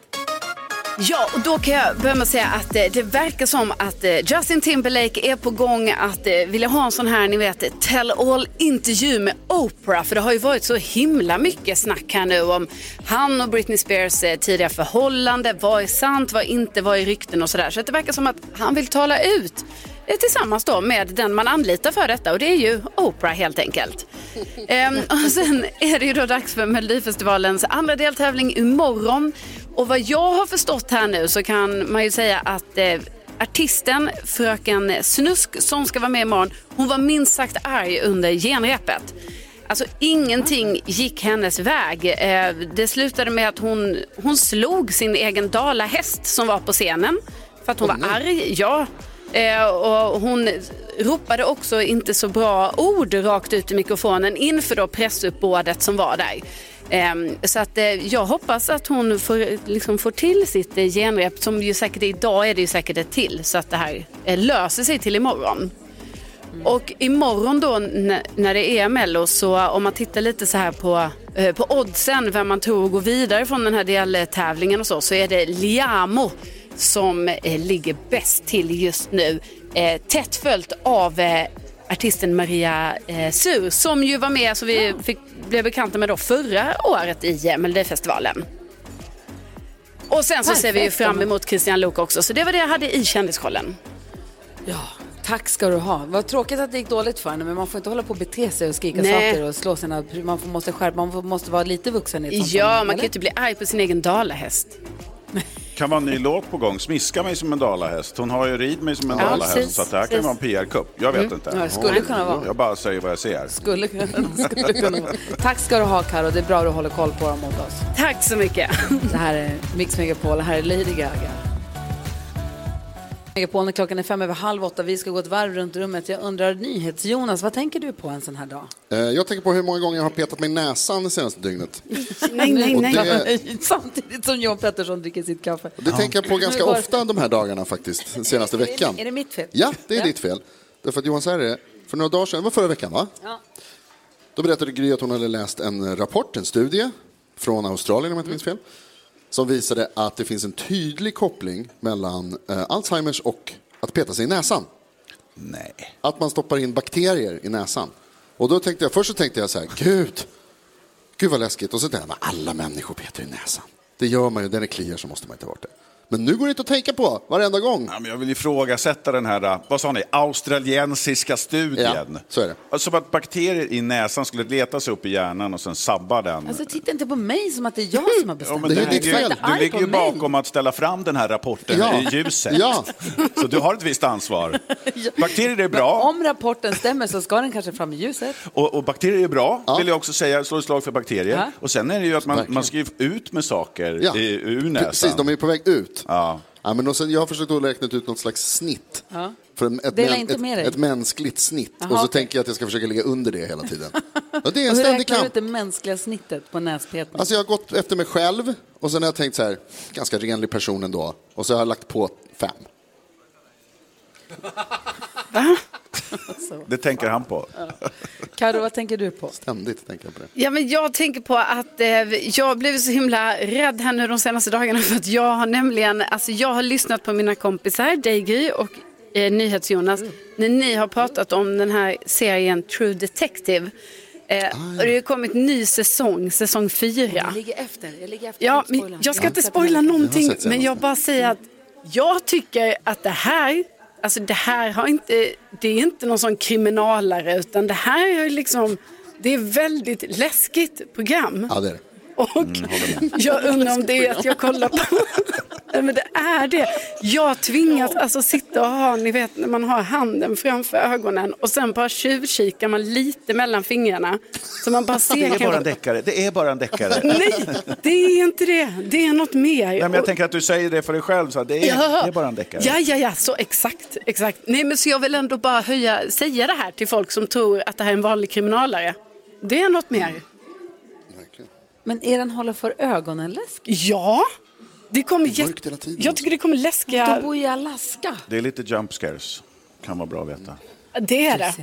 C: Ja, och då kan jag börja med att säga att eh, det verkar som att eh, Justin Timberlake är på gång att eh, vilja ha en sån här, ni vet, tell all-intervju med Oprah. För det har ju varit så himla mycket snack här nu om han och Britney Spears eh, tidiga förhållande. Vad är sant, vad är inte, vad är rykten och sådär. Så att det verkar som att han vill tala ut eh, tillsammans då med den man anlitar för detta och det är ju Oprah helt enkelt. Ehm, och sen är det ju då dags för Melodifestivalens andra deltävling imorgon. Och vad jag har förstått här nu så kan man ju säga att eh, artisten Fröken Snusk som ska vara med imorgon, hon var minst sagt arg under genrepet. Alltså ingenting gick hennes väg. Eh, det slutade med att hon, hon slog sin egen dalahäst som var på scenen för att hon var arg. Ja. Eh, och hon ropade också inte så bra ord rakt ut i mikrofonen inför då pressuppbådet som var där. Ehm, Så att eh, jag hoppas att hon får, liksom får till sitt eh, genrep, som ju säkert är idag är det ju säkert ett till, så att det här eh, löser sig till imorgon. Och imorgon då n- när det är Mello så om man tittar lite så här på, eh, på oddsen, vem man tror går vidare från den här deltävlingen och så, så är det Liamo som eh, ligger bäst till just nu. Eh, tätt följt av eh, artisten Maria eh, Sur som ju var med, så vi fick, blev bekanta med då förra året i eh, Melodifestivalen. Och sen så ser vi ju
B: Perfekt.
C: fram emot Christian Luuk också, så det var det jag hade i kändiskollen.
B: Tack ska du ha. Vad tråkigt att det gick dåligt för henne, men man får inte hålla på och bete sig och skrika
C: Nej.
B: saker och slå sina... Man får, måste skärpa, man får, måste vara lite vuxen i ett sånt
C: Ja,
B: sammanhang,
C: man kan ju typ-
B: eller?
C: inte bli arg på sin egen dalahäst.
H: Kan vara en ny låt på gång. Smiska mig som en dalahäst. Hon har ju Rid mig som en
B: Ja,
H: dalahäst.
B: precis,
H: så att det här kan
B: precis.
H: vara en PR-kupp. Jag vet
B: Mm.
H: inte.
B: Ja, det skulle
H: Hon-
B: kunna vara.
H: Jag bara säger vad jag ser.
B: Skulle, kunna- skulle kunna vara. Tack ska du ha, Karo. Det är bra att du håller koll på dem åt oss.
C: Tack så mycket.
B: Det här är Mix Megapol. Det här är Lady Gaga. Megapol när klockan är fem över halv åtta. Vi ska gå ett varv runt rummet. Jag undrar, NyhetsJonas, vad tänker du på en sån här dag?
D: Eh, Jag tänker på hur många gånger jag har petat mig i näsan det senaste dygnet.
B: Nej, nej,
D: Och det-
B: Samtidigt som John Pettersson dricker sitt kaffe.
D: Det tänker jag på ganska
B: Nu går-
D: ofta de här dagarna faktiskt, den senaste veckan.
B: Är det mitt fel?
D: Ja, det är ditt fel. Därför att Johan, så här är det. För några dagar sedan, det var förra veckan va?
B: Ja.
D: Då berättade Gry att hon hade läst en rapport, en studie från Australien om jag inte minns fel. Som visade att det finns en tydlig koppling mellan eh, Alzheimers och att peta sig i näsan. Nej. Att man stoppar in bakterier i näsan. Och då tänkte jag, först så tänkte jag så här, gud, gud vad läskigt. Och så tänkte jag, men alla människor petar i näsan. Det gör man ju, den är kliar så måste man inte ta bort det. Men nu går det inte att tänka på, varenda gång.
H: Ja, men jag vill ifrågasätta den här, äh, vad sa ni, australiensiska studien.
D: Ja, så är det.
H: Alltså att bakterier i näsan skulle leta sig upp i hjärnan och sen sabba den.
B: Alltså, titta inte på mig som att det är jag som har bestämt.
H: men du ligger ju-
B: Var inte
H: Du
B: arg
H: ligger
B: på
H: ju
B: mig.
H: bakom att ställa fram den här rapporten
D: Ja.
H: i ljuset.
D: Ja.
H: Så du har ett visst ansvar. Bakterier är bra.
B: Om rapporten stämmer så ska den kanske fram i ljuset.
H: Och, och bakterier är bra, vill jag också säga. Slå ett slag för bakterier.
B: Ja.
H: Och sen är det ju att man, man skriver ut med saker
D: Ja.
H: i, ur näsan.
D: Precis, de är på väg ut. Ja. men och sen, jag har försökt att räkna ut något slags snitt.
B: Ja.
D: För en, ett,
B: Dela
D: män-
B: inte med dig.
D: ett, ett mänskligt snitt.
B: Jaha,
D: och så
B: okej.
D: tänker jag att jag ska försöka ligga under det hela tiden. Och det är en
B: Och hur
D: ständig
B: räknar du
D: kamp.
B: ut det mänskliga snittet på näspetning?
D: Alltså jag har gått efter mig själv och sen har jag tänkt så här, ganska renlig person ändå. Och så har jag lagt på fem.
H: Det tänker han på.
B: Karo, vad tänker du på?
D: Ständigt tänker jag på det.
C: Ja, men jag tänker på att eh, jag blev så himla rädd här nu de senaste dagarna för att jag har nämligen, alltså jag har lyssnat på mina kompisar, dig Gry och eh, NyhetsJonas, när ni har pratat om den här serien True Detective. Eh, och det har ju kommit ny säsong, säsong fyra.
B: Jag ligger efter. Jag ligger efter.
C: Ja,
B: Jag spoilar
C: men jag ska
B: Ja.
C: inte spoila
B: Jag
C: någonting,
B: har sett
C: men
B: senast.
C: jag bara säger att jag tycker att det här, alltså det här har inte, det är inte någon sån kriminalare, utan det här är liksom, det är väldigt läskigt program.
D: Ja, det är det.
C: Och
H: Mm,
C: jag undrar om det är att jag kollar på... Nej, men det är det. Jag tvingas alltså sitta och ha, ni vet när man har handen framför ögonen och sen bara tjuvkikar man lite mellan fingrarna. Så man bara ser
H: Det är
C: kanske-
H: bara en deckare. Det är bara en deckare.
C: Nej, det är inte det. Det är något mer.
H: Nej, men jag tänker att du säger det för dig själv. Så här, det, är,
C: Ja.
H: det är bara en deckare.
C: Ja, ja, ja, så exakt, exakt. Nej, men så jag vill ändå bara höja, säga det här till folk som tror att det här är en vanlig kriminalare. Det är något mer.
B: Men är den håller för ögonen läskig?
C: Ja, det kommer jätte... Jag tycker det kommer läskiga...
B: De bor i Alaska.
H: Det är lite jump scares. Kan vara bra att veta.
C: Det är det.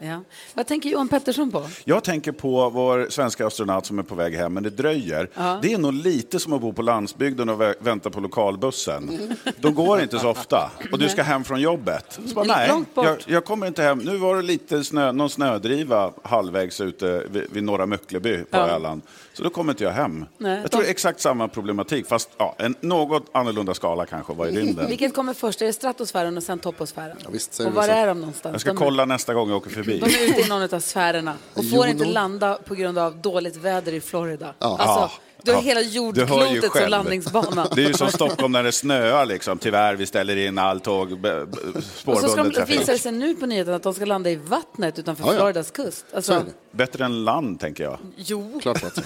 B: Ja. Vad tänker Johan Pettersson på?
H: Jag tänker på vår svenska astronaut som är på väg hem, men det dröjer.
B: Ja.
H: Det är nog lite som att bo på landsbygden och vä- vänta på lokalbussen. De går inte så ofta. Och du ska hem från jobbet. Så bara,
B: Lite
H: nej,
B: långt bort.
H: jag, jag kommer inte hem. Nu var det lite snö, någon snödriva halvvägs ute vid, vid Norra Möckleby på
B: Ja.
H: Öland. Så då kommer inte jag hem.
B: Nej.
H: jag tror det är exakt samma problematik, fast ja, en något annorlunda skala kanske var i rymden.
B: Vilket kommer först? Är det stratosfären och sen toposfären? Ja,
D: visst,
H: säger
B: och
H: du
B: var
H: så.
B: är de någonstans?
H: Jag ska
B: de,
H: kolla nästa gång jag åker förbi.
B: de är ute i någon av sfärerna och får
H: Jonas.
B: inte landa på grund av dåligt väder i Florida.
H: Ja.
B: Alltså,
H: Ja.
B: Du har hela
H: Du hör ju
B: jordklotet som
H: själv.
B: landningsbana.
H: Det är ju som Stockholm när det snöar liksom. Tyvärr, vi ställer in all tåg, b- b-
B: Och så ska
H: spårbunden
B: de,
H: trafik.
B: visar det sig nu på nyheten att de ska landa i vattnet utanför
H: Ja, ja.
B: Floridas kust.
H: Så är
B: Alltså,
H: det. Bättre än land, tänker jag.
B: jo.
D: Klart bättre.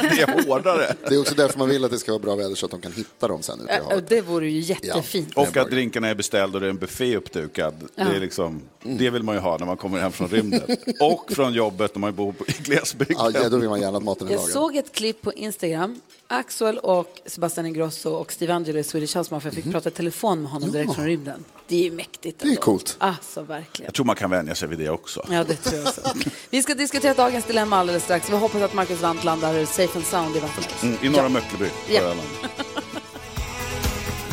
H: Det är hårdare.
D: Det är också därför man vill att det ska vara bra väder så att de kan hitta dem sen ute i
B: Äh, äh,
D: havet.
B: Det vore ju jättefint.
H: Och att drinkarna är beställd och det är en buffé uppdukad.
B: Ja.
H: Det, är liksom, det vill man ju ha när man kommer hem från rymden. och från jobbet när man bor på- i glesbygden.
D: Ja, ja, då vill man gärna att maten är
B: Jag
D: lagad.
B: såg ett klipp på Instagram. Axel och Sebastian Ingrosso och Steve Angelo i Swedish House Mafia fick prata i telefon med honom direkt från rymden. Det är ju mäktigt.
H: Mhm. Det är
B: ändå.
H: coolt.
B: Alltså verkligen.
H: Jag tror man kan vänja sig vid det också.
B: Ja, det tror jag också. Vi ska diskutera dagens dilemma alldeles strax. Vi hoppas att Marcus Wandt landar safe and sound i vattnet.
H: Mm, I norra Möckelby på
B: Ja.
H: Öland.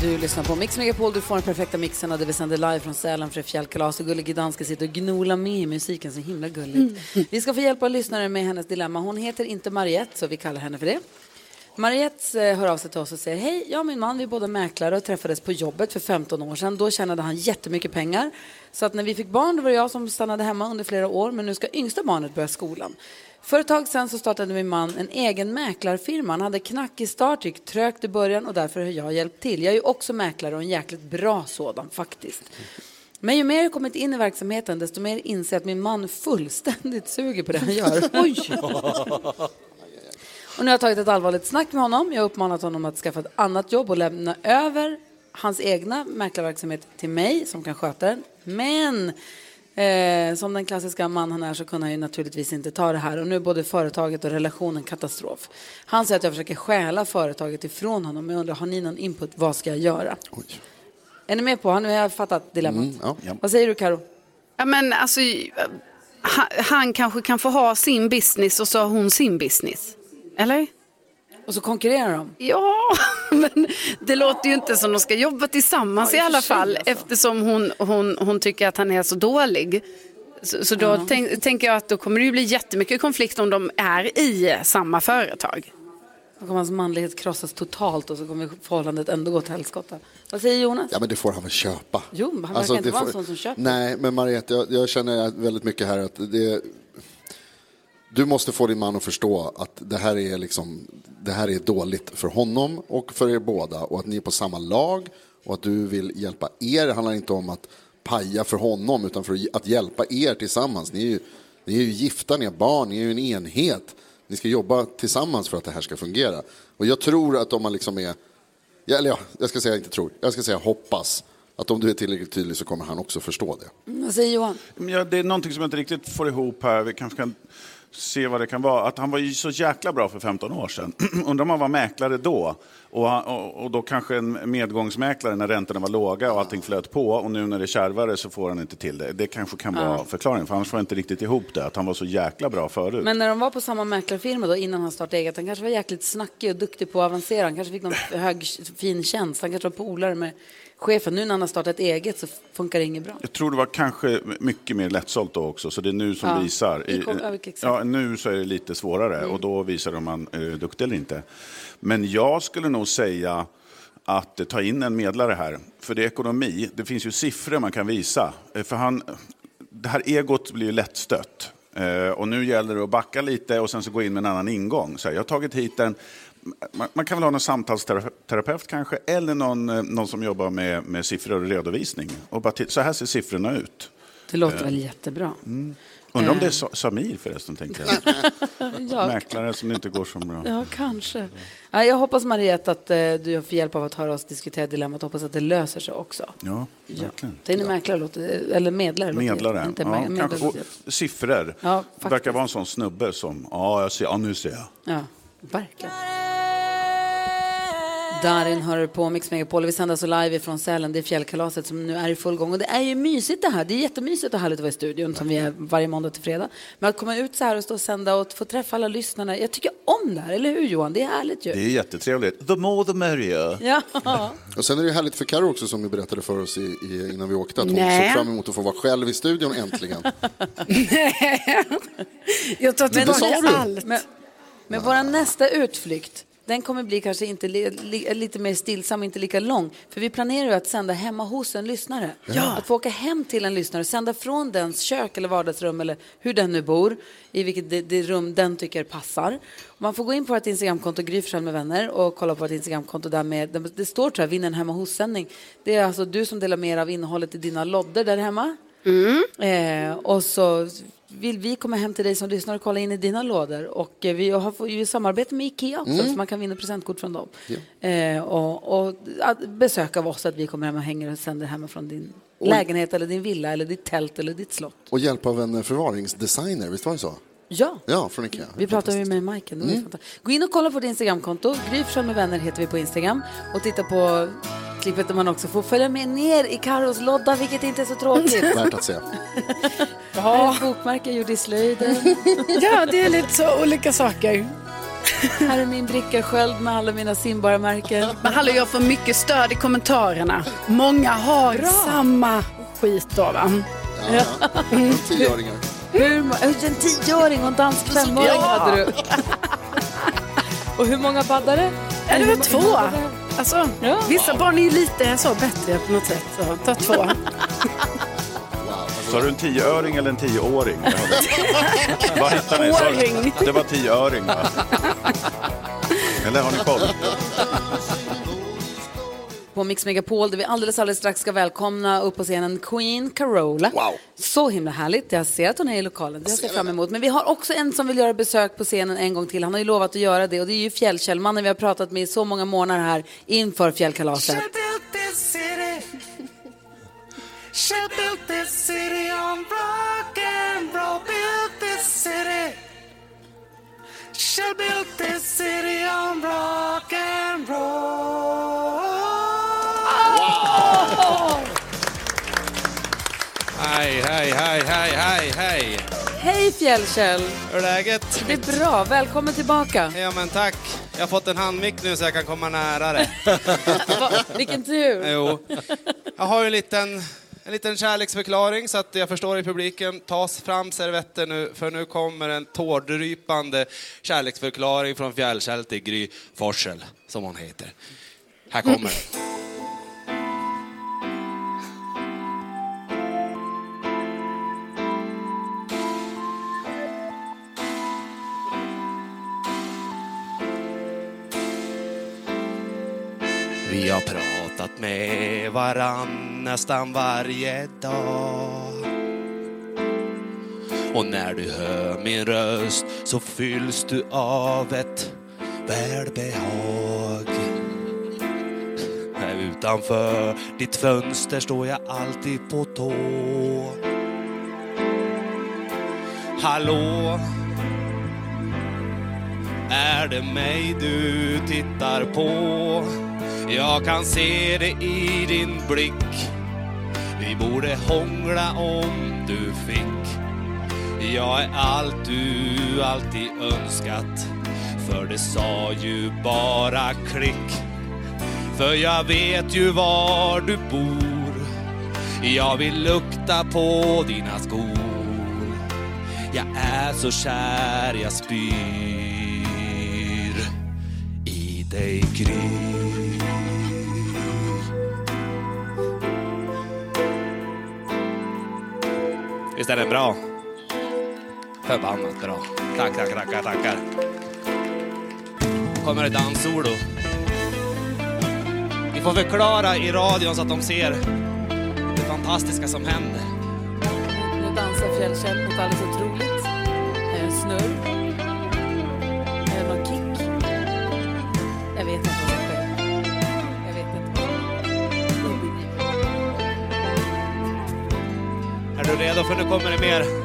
B: Du lyssnar på Mix Megapol, du får den perfekta mixen och det vi sänder live från Sälen för ett fjällkalas och Gullig Gdan ska sitta och gnola med i musiken, så himla gulligt. Vi ska få hjälp av lyssnare med hennes dilemma. Hon heter inte Mariette, så vi kallar henne för det. Mariette eh, hör av sig till oss och säger Hej, jag och min man, vi är båda mäklare och träffades på jobbet för 15 år sedan. Då tjänade han jättemycket pengar. Så att när vi fick barn, då var det jag som stannade hemma under flera år, men nu ska yngsta barnet börja skolan. För ett tag sedan så startade min man en egen mäklarfirma. Han hade knackig start, gick trögt i början och därför har jag hjälpt till. Jag är ju också mäklare och en jäkligt bra sådan faktiskt. Men ju mer jag kommit in i verksamheten desto mer inser jag att min man fullständigt suger på det han gör. Oj! Och nu har jag tagit ett allvarligt snack med honom. Jag har uppmanat honom att skaffa ett annat jobb och lämna över hans egna mäklarverksamhet till mig som kan sköta den. Men eh, som den klassiska man han är så kunde han ju naturligtvis inte ta det här. Och nu är både företaget och relationen katastrof. Han säger att jag försöker stjäla företaget ifrån honom. Men jag undrar, har ni någon input? Vad ska jag göra? Är ni med på? Har ni fattat dilemmat? Vad säger du Karo?
C: Ja, men alltså, han, han kanske kan få ha sin business och så har hon sin business. Eller?
B: Och så konkurrerar de?
C: Ja, men det låter ju inte som de ska jobba tillsammans
B: Ja,
C: i
B: i och
C: alla
B: för sig,
C: fall
B: alltså.
C: eftersom hon, hon, hon tycker att han är så dålig. Så, så då tänk, tänker jag att då kommer det ju bli jättemycket konflikt om de är i samma företag.
B: Då kommer hans manlighet krossas totalt och så kommer förhållandet ändå gå åt helskotta. Vad säger Jonas?
D: Ja, men det får han väl köpa. Alltså,
B: Jo, men han verkar inte
D: det
B: vara en sån som köper.
D: Nej, men Mariette, jag, jag känner väldigt mycket här att det... Du måste få din man att förstå att det här är liksom, det här är dåligt för honom och för er båda och att ni är på samma lag och att du vill hjälpa er. Det handlar inte om att paja för honom utan för att hjälpa er tillsammans. Ni är ju, ni är ju gifta, ni har barn, ni är ju en enhet. Ni ska jobba tillsammans för att det här ska fungera. Och jag tror att om man liksom är Ja, eller ja, jag ska säga inte tror. Jag ska säga hoppas. Att om du är tillräckligt tydlig så kommer han också förstå det.
B: Vad säger Johan?
H: Men ja, det är någonting som jag inte riktigt får ihop här. Vi kanske kan se vad det kan vara. Att han var ju så jäkla bra för 15 år sedan. Undrar om han var mäklare då. Och, han, och, och då kanske en medgångsmäklare när räntorna var låga och allting flöt på. Och nu när det är kärvare så får han inte till det. Det kanske kan vara
B: Ja.
H: förklaringen. För annars får jag inte riktigt ihop det. Att han var så jäkla bra förut.
B: Men när de var på samma mäklarfirma då innan han startade eget, han kanske var jäkligt snackig och duktig på att avancera. Han kanske fick någon hög, fin tjänst. Han kanske var polare med chefen. Nu när han har startat eget så funkar det inget bra.
H: Jag tror det var kanske mycket mer lättsålt då också, så det är nu som
B: Ja,
H: visar.
B: i kom- ja, exakt.
H: ja, nu så är det lite svårare
B: Mm.
H: och då visar det om man eh, är duktig eller inte. Men jag skulle nog säga att eh, ta in en medlare här, för det är ekonomi. Det finns ju siffror man kan visa. Eh, För han, det här egot blir ju lättstött. Eh, Och nu gäller det att backa lite och sen så gå in med en annan ingång. Så här, jag har tagit hit en man, man kan väl ha någon samtalsterapeut kanske, eller någon, eh, någon som jobbar med, med siffror och redovisning. Och bara titta, så här ser siffrorna ut.
B: Det låter
H: Eh.
B: väl jättebra.
H: Undrar om
B: Eh.
H: det är Sa- Samir förresten, tänkte jag.
B: Ja,
H: Mäklare som det inte går så bra.
B: ja, kanske. Ja, jag hoppas Mariette att eh, du får hjälp av att höra oss diskutera dilemmat. Hoppas att det löser sig också.
H: Ja, verkligen.
B: Ta in en mäklare, låter, eller medlare. låter-
H: Medlare.
B: Inte mä-
H: ja,
B: medlare.
H: kanske.
B: låter-
H: Och siffror.
B: Ja,
H: det
B: faktiskt.
H: verkar vara en sån snubbe som, ja, jag ser, ja nu ser jag.
B: Ja, verkligen. Darin hör på Mix Megapol. Vi sänder alltså live ifrån Sälen. Det är fjällkalaset som nu är i full gång. Och det är ju mysigt det här. Det är jättemysigt och härligt att vara i studion som vi är varje måndag till fredag. Men att komma ut så här och stå och sända och få träffa alla lyssnarna. Jag tycker om det här, eller hur Johan? Det är härligt ju.
H: Det är jättetrevligt. The more the merrier.
B: Ja.
D: Och sen är det ju härligt för Karo också som du berättade för oss i, i, innan vi åkte att hon
C: Nej.
D: såg fram emot att få vara själv i studion äntligen.
C: Jag tar
D: Men det sa
C: tillbaka
D: du.
C: allt.
B: Men vår nästa utflykt, Den kommer bli kanske inte li, li, lite mer stillsam, inte lika lång. För vi planerar ju att sända hemma hos en lyssnare.
N: Ja.
B: Att få åka hem till en lyssnare, sända från dens kök eller vardagsrum eller hur den nu bor, i vilket det, det rum den tycker passar. Man får gå in på vårt Instagramkonto, Gry Forssell med vänner, och kolla på vårt Instagramkonto där med, det- det står tror jag, vinn en hemma hos-sändning. Det är alltså du som delar med er av innehållet i dina lodder där hemma. Eh, och så vill vi komma hem till dig som lyssnar och kolla in i dina lådor. Och eh, vi har fått- ju samarbete med Ikea också,
N: Mm.
B: så man kan vinna presentkort från dem.
N: Ja.
B: Eh, och och att besök av oss, att vi kommer hem och hänger och sänder hemifrån din
D: Oj.
B: lägenhet eller din villa eller ditt tält eller ditt slott.
D: Och hjälp av en eh, förvaringsdesigner, visst var det så?
B: Ja.
D: Ja, från Ikea.
B: Vi pratade ju med Majken. det var ju
D: Mm.
B: fantastiskt. Gå in och kolla på vårt Instagramkonto. Gry Forssell med vänner heter vi på Instagram. Och titta på klippet där man också får följa med ner i Carros lodda, vilket inte är så tråkigt.
D: Värt att se.
B: Här är ett bokmärke jag gjorde i slöjden.
O: Ja, det är lite så olika saker.
B: Här är min bricka sköld med alla mina simborgarmärken.
C: Men hallå, jag får mycket stöd i kommentarerna. Många har samma skit då va?
D: Ja. Mm. Tioåringar.
B: Hur, ma- Oj, en tioåring och en dansk femåring
C: Ja.
B: hade du. Och hur många baddare?
C: Ja, det var två.
O: Alltså,
C: Vissa barn är ju lite så bättre på något sätt. Så ta två.
H: Sa du en tioöring eller en tioåring? Vad hittade ni? Sa du-
C: Åring.
H: Det var tioöring va? Eller har ni koll?
B: På Mix Megapol där vi alldeles, alldeles strax ska välkomna upp på scenen Queen Carola. Wow. Så himla härligt. Jag ser att hon är i lokalen. Det ser jag fram emot. Men vi har också en som vill göra besök på scenen en gång till. Han har ju lovat att göra det och det är ju Fjällkällmannen vi har pratat med i så många månader här inför fjällkalaset.
O: Shout out this city. Shout out this city on rock and roll. Build this city. Shout out this city on rock and roll.
M: Hej, hej, hej, hej, hej, hej!
B: Hej Fjällkäll!
P: Hur är läget?
B: Det är bra. Välkommen tillbaka.
P: Ja men tack. Jag har fått en handmick nu så jag kan komma nära dig.
B: Vilken tur.
P: Jo. Jag har ju en liten, en liten kärleksförklaring så att jag förstår i publiken. Tas fram servetter nu för nu kommer en tårdrypande kärleksförklaring från Fjällkäll till Gry Forssell, som hon heter. Här kommer den. Vi har pratat med varann nästan varje dag. Och när du hör min röst så fylls du av ett välbehag. Här utanför ditt fönster står jag alltid på tå. Hallå, är det mig du tittar på? Jag kan se det i din blick. Vi borde hångla om du fick. Jag är allt du alltid önskat. För det sa ju bara klick. För jag vet ju var du bor. Jag vill lukta på dina skor. Jag är så kär jag spyr i dig Gry. Visst är den bra? Förbannat bra. Tack, tack, tackar, tackar. Kommer ett danssolo. Ni får förklara i radion så att de ser det fantastiska som händer.
B: Nu dansar Fjällkäll mot alldeles otroligt. Är det en snurr? Är det någon kick? Jag vet inte vad som sker. Jag vet inte.
P: Är du redo för nu kommer det mer?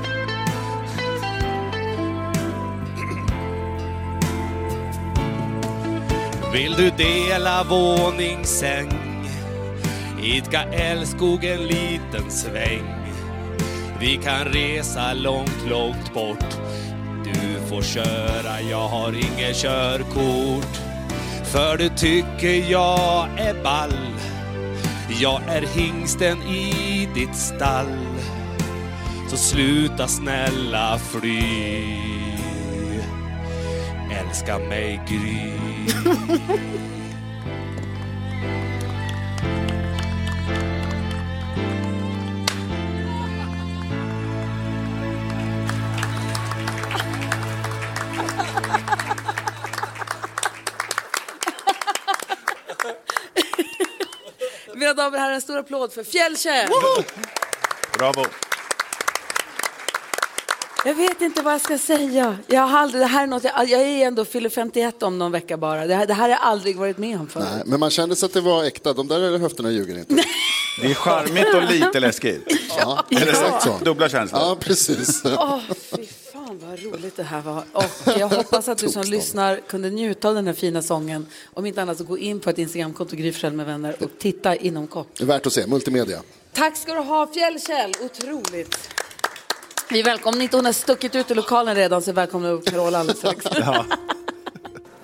P: Vill du dela våningssäng? Idka älskog en liten sväng. Vi kan resa långt, långt bort. Du får köra, jag har inget körkort. För du tycker jag är ball. Jag är hingsten i ditt stall. Så sluta snälla fly.
M: Älska mig Gry.
B: Mina damer och herrar, en stor applåd för Fjällkäll!
H: Bravo.
B: Jag vet inte vad jag ska säga. Jag, har aldrig, det här är något, jag, jag är ändå fyller 51 om någon vecka bara. Det här, det här har jag aldrig varit med om förut.
D: Nej, men man kände sig att det var äkta. De där höfterna ljuger inte.
H: Det är charmigt och lite läskigt.
D: Ja,
H: Eller
D: exakt så.
H: Dubbla känslor.
D: Ja, precis.
B: Åh, fy fan vad roligt det här var. Och jag hoppas att du som lyssnar kunde njuta av den här fina sången. Om inte annat så gå in på ett Instagramkonto, Gry Forssell med vänner, och titta inom kort.
D: Det är värt att se, multimedia.
B: Tack ska du ha, Fjällkäll. Otroligt. Vi välkomnar inte, hon har stuckit ut ur lokalen redan, så välkomnar vi Carola alldeles strax.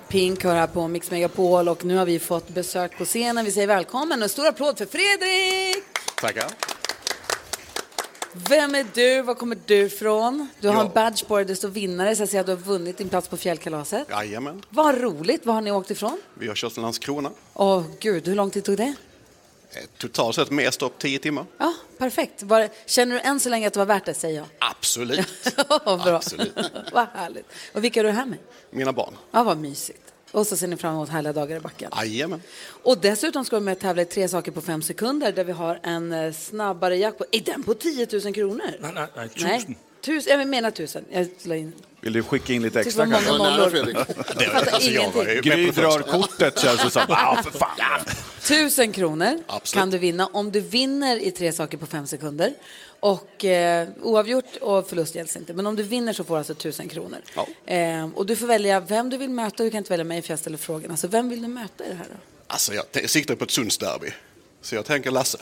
B: Pink hör här på Mix Megapol och nu har vi fått besök på scenen. Vi säger välkommen och en stor applåd för Fredrik!
Q: Tackar.
B: Vem är du? Var kommer du ifrån? Du har
Q: Ja.
B: en badge på dig, det står vinnare, så jag ser att du har vunnit din plats på fjällkalaset.
Q: Jajamän.
B: Vad roligt! Var har ni åkt ifrån?
Q: Vi har kört till Landskrona.
B: Åh gud, hur lång tid tog det?
Q: Eh, Totalt sett mer stopp, 10 timmar.
B: Ja, perfekt. Var, känner du än så länge att det var värt det, säger jag.
Q: Absolut.
B: Vad bra.
Q: Absolut.
B: vad härligt. Och vilka är du här med?
Q: Mina barn.
B: Ja, vad mysigt. Och så ser ni fram emot härliga dagar i backen.
Q: Jajamän.
B: Och dessutom ska vi med och tävla i tre saker på fem sekunder där vi har en eh, snabbare jackpot. Är den på 10 000 kronor? Nej,
Q: nej, nej,
B: Nej.
Q: tusen.
B: Tusen, jag menar tusen. Jag la in.
Q: Alltså,
H: Vill du skicka in lite
B: Typ
H: extra
B: vad många
H: kanske?
B: nollor. Det var- alltså, jag var ju med
H: Gry
B: på
H: drar
B: första.
H: kortet känns det som. Ah, för fan.
B: Tusen kronor
H: Absolut.
B: kan du vinna om du vinner i tre saker på fem sekunder. Och eh, oavgjort och förlust gälls inte. Men om du vinner så får du alltså tusen kronor.
Q: Ja.
B: Eh, och du får välja vem du vill möta. Du kan inte välja mig för jag ställer frågan. Alltså, vem vill du möta i det här då?
Q: Alltså jag t- siktar på ett Sundsderby. Så jag tänker Lasse.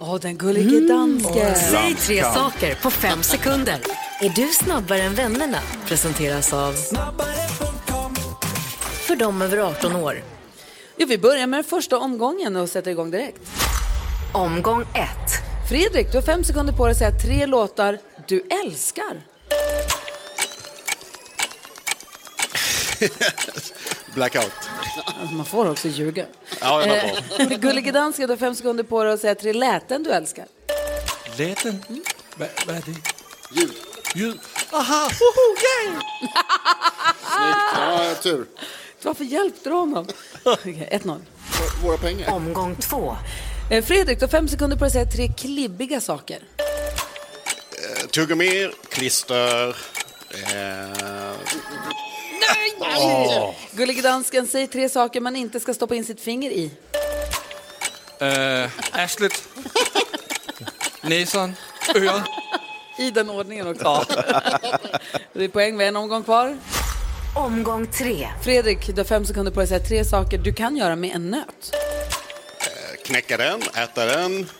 B: Åh, den gullige dansken.
A: Säg tre saker på fem sekunder. Är du snabbare än vännerna? Presenteras av... För dem över 18 år.
B: Jo, vi börjar med den första omgången och sätter igång direkt. Omgång ett. Fredrik, du har fem sekunder på dig att säga tre låtar du älskar.
Q: Blackout.
B: Alltså, man får också ljuga.
Q: Ja, jag var bra.
B: Eh, Gullige dansken, du har fem sekunder på dig att säga tre läten du älskar.
R: Läten? Vad vad är det?
D: Ljud.
R: Ljud?
B: Aha, woho, yay!
D: Ja, jag har tur.
B: Varför hjälpte du honom? Okej, 1-0.
D: Våra pengar.
B: Omgång två. Eh, Fredrik, du har fem sekunder på dig att säga tre klibbiga saker.
Q: Eh, Tuggummi, klister. Eh,
B: Nej!
Q: Åh.
B: Eh, Gullige dansken, säg tre saker man inte ska stoppa in sitt finger i.
R: Uh, arslet? Näsan? Öron?
B: I den ordningen också.
R: Ja.
B: Det är poäng, vi har en omgång kvar. Omgång tre. Fredrik, du har fem sekunder på dig att säga tre saker du kan göra med en nöt.
Q: knäcka den, äta den,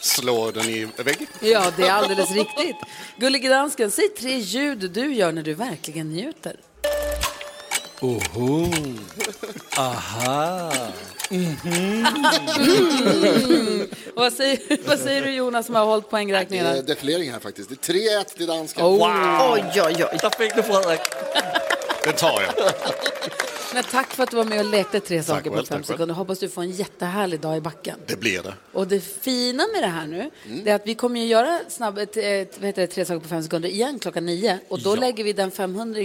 Q: slå den i väggen.
B: Ja, det är alldeles riktigt. Gullige dansken, säg tre ljud du gör när du verkligen njuter.
R: Oho. Aha. Mhm.
B: Mm. Och Vad, säger, vad säger du Jonas som har hållit
D: Det
B: poängräkningen?
D: är
B: här?
D: defilering här faktiskt. Det är 3-1 till dansken.
B: Oh. Wow. Oj,
D: oj, oj. Där fick du Fredrik.
Q: Det tar jag.
B: Men tack för att du var med och lekte tre saker
Q: väl,
B: på fem
Q: tack väl.
B: sekunder. Hoppas du får en jättehärlig dag i backen.
Q: Det blir det. Mm.
B: Och det fina med det här nu, det är att vi kommer ju göra snabb, ett, ett, vad heter det, tre saker på fem sekunder igen klockan nio. Och då
A: Ja.
B: lägger vi den 500,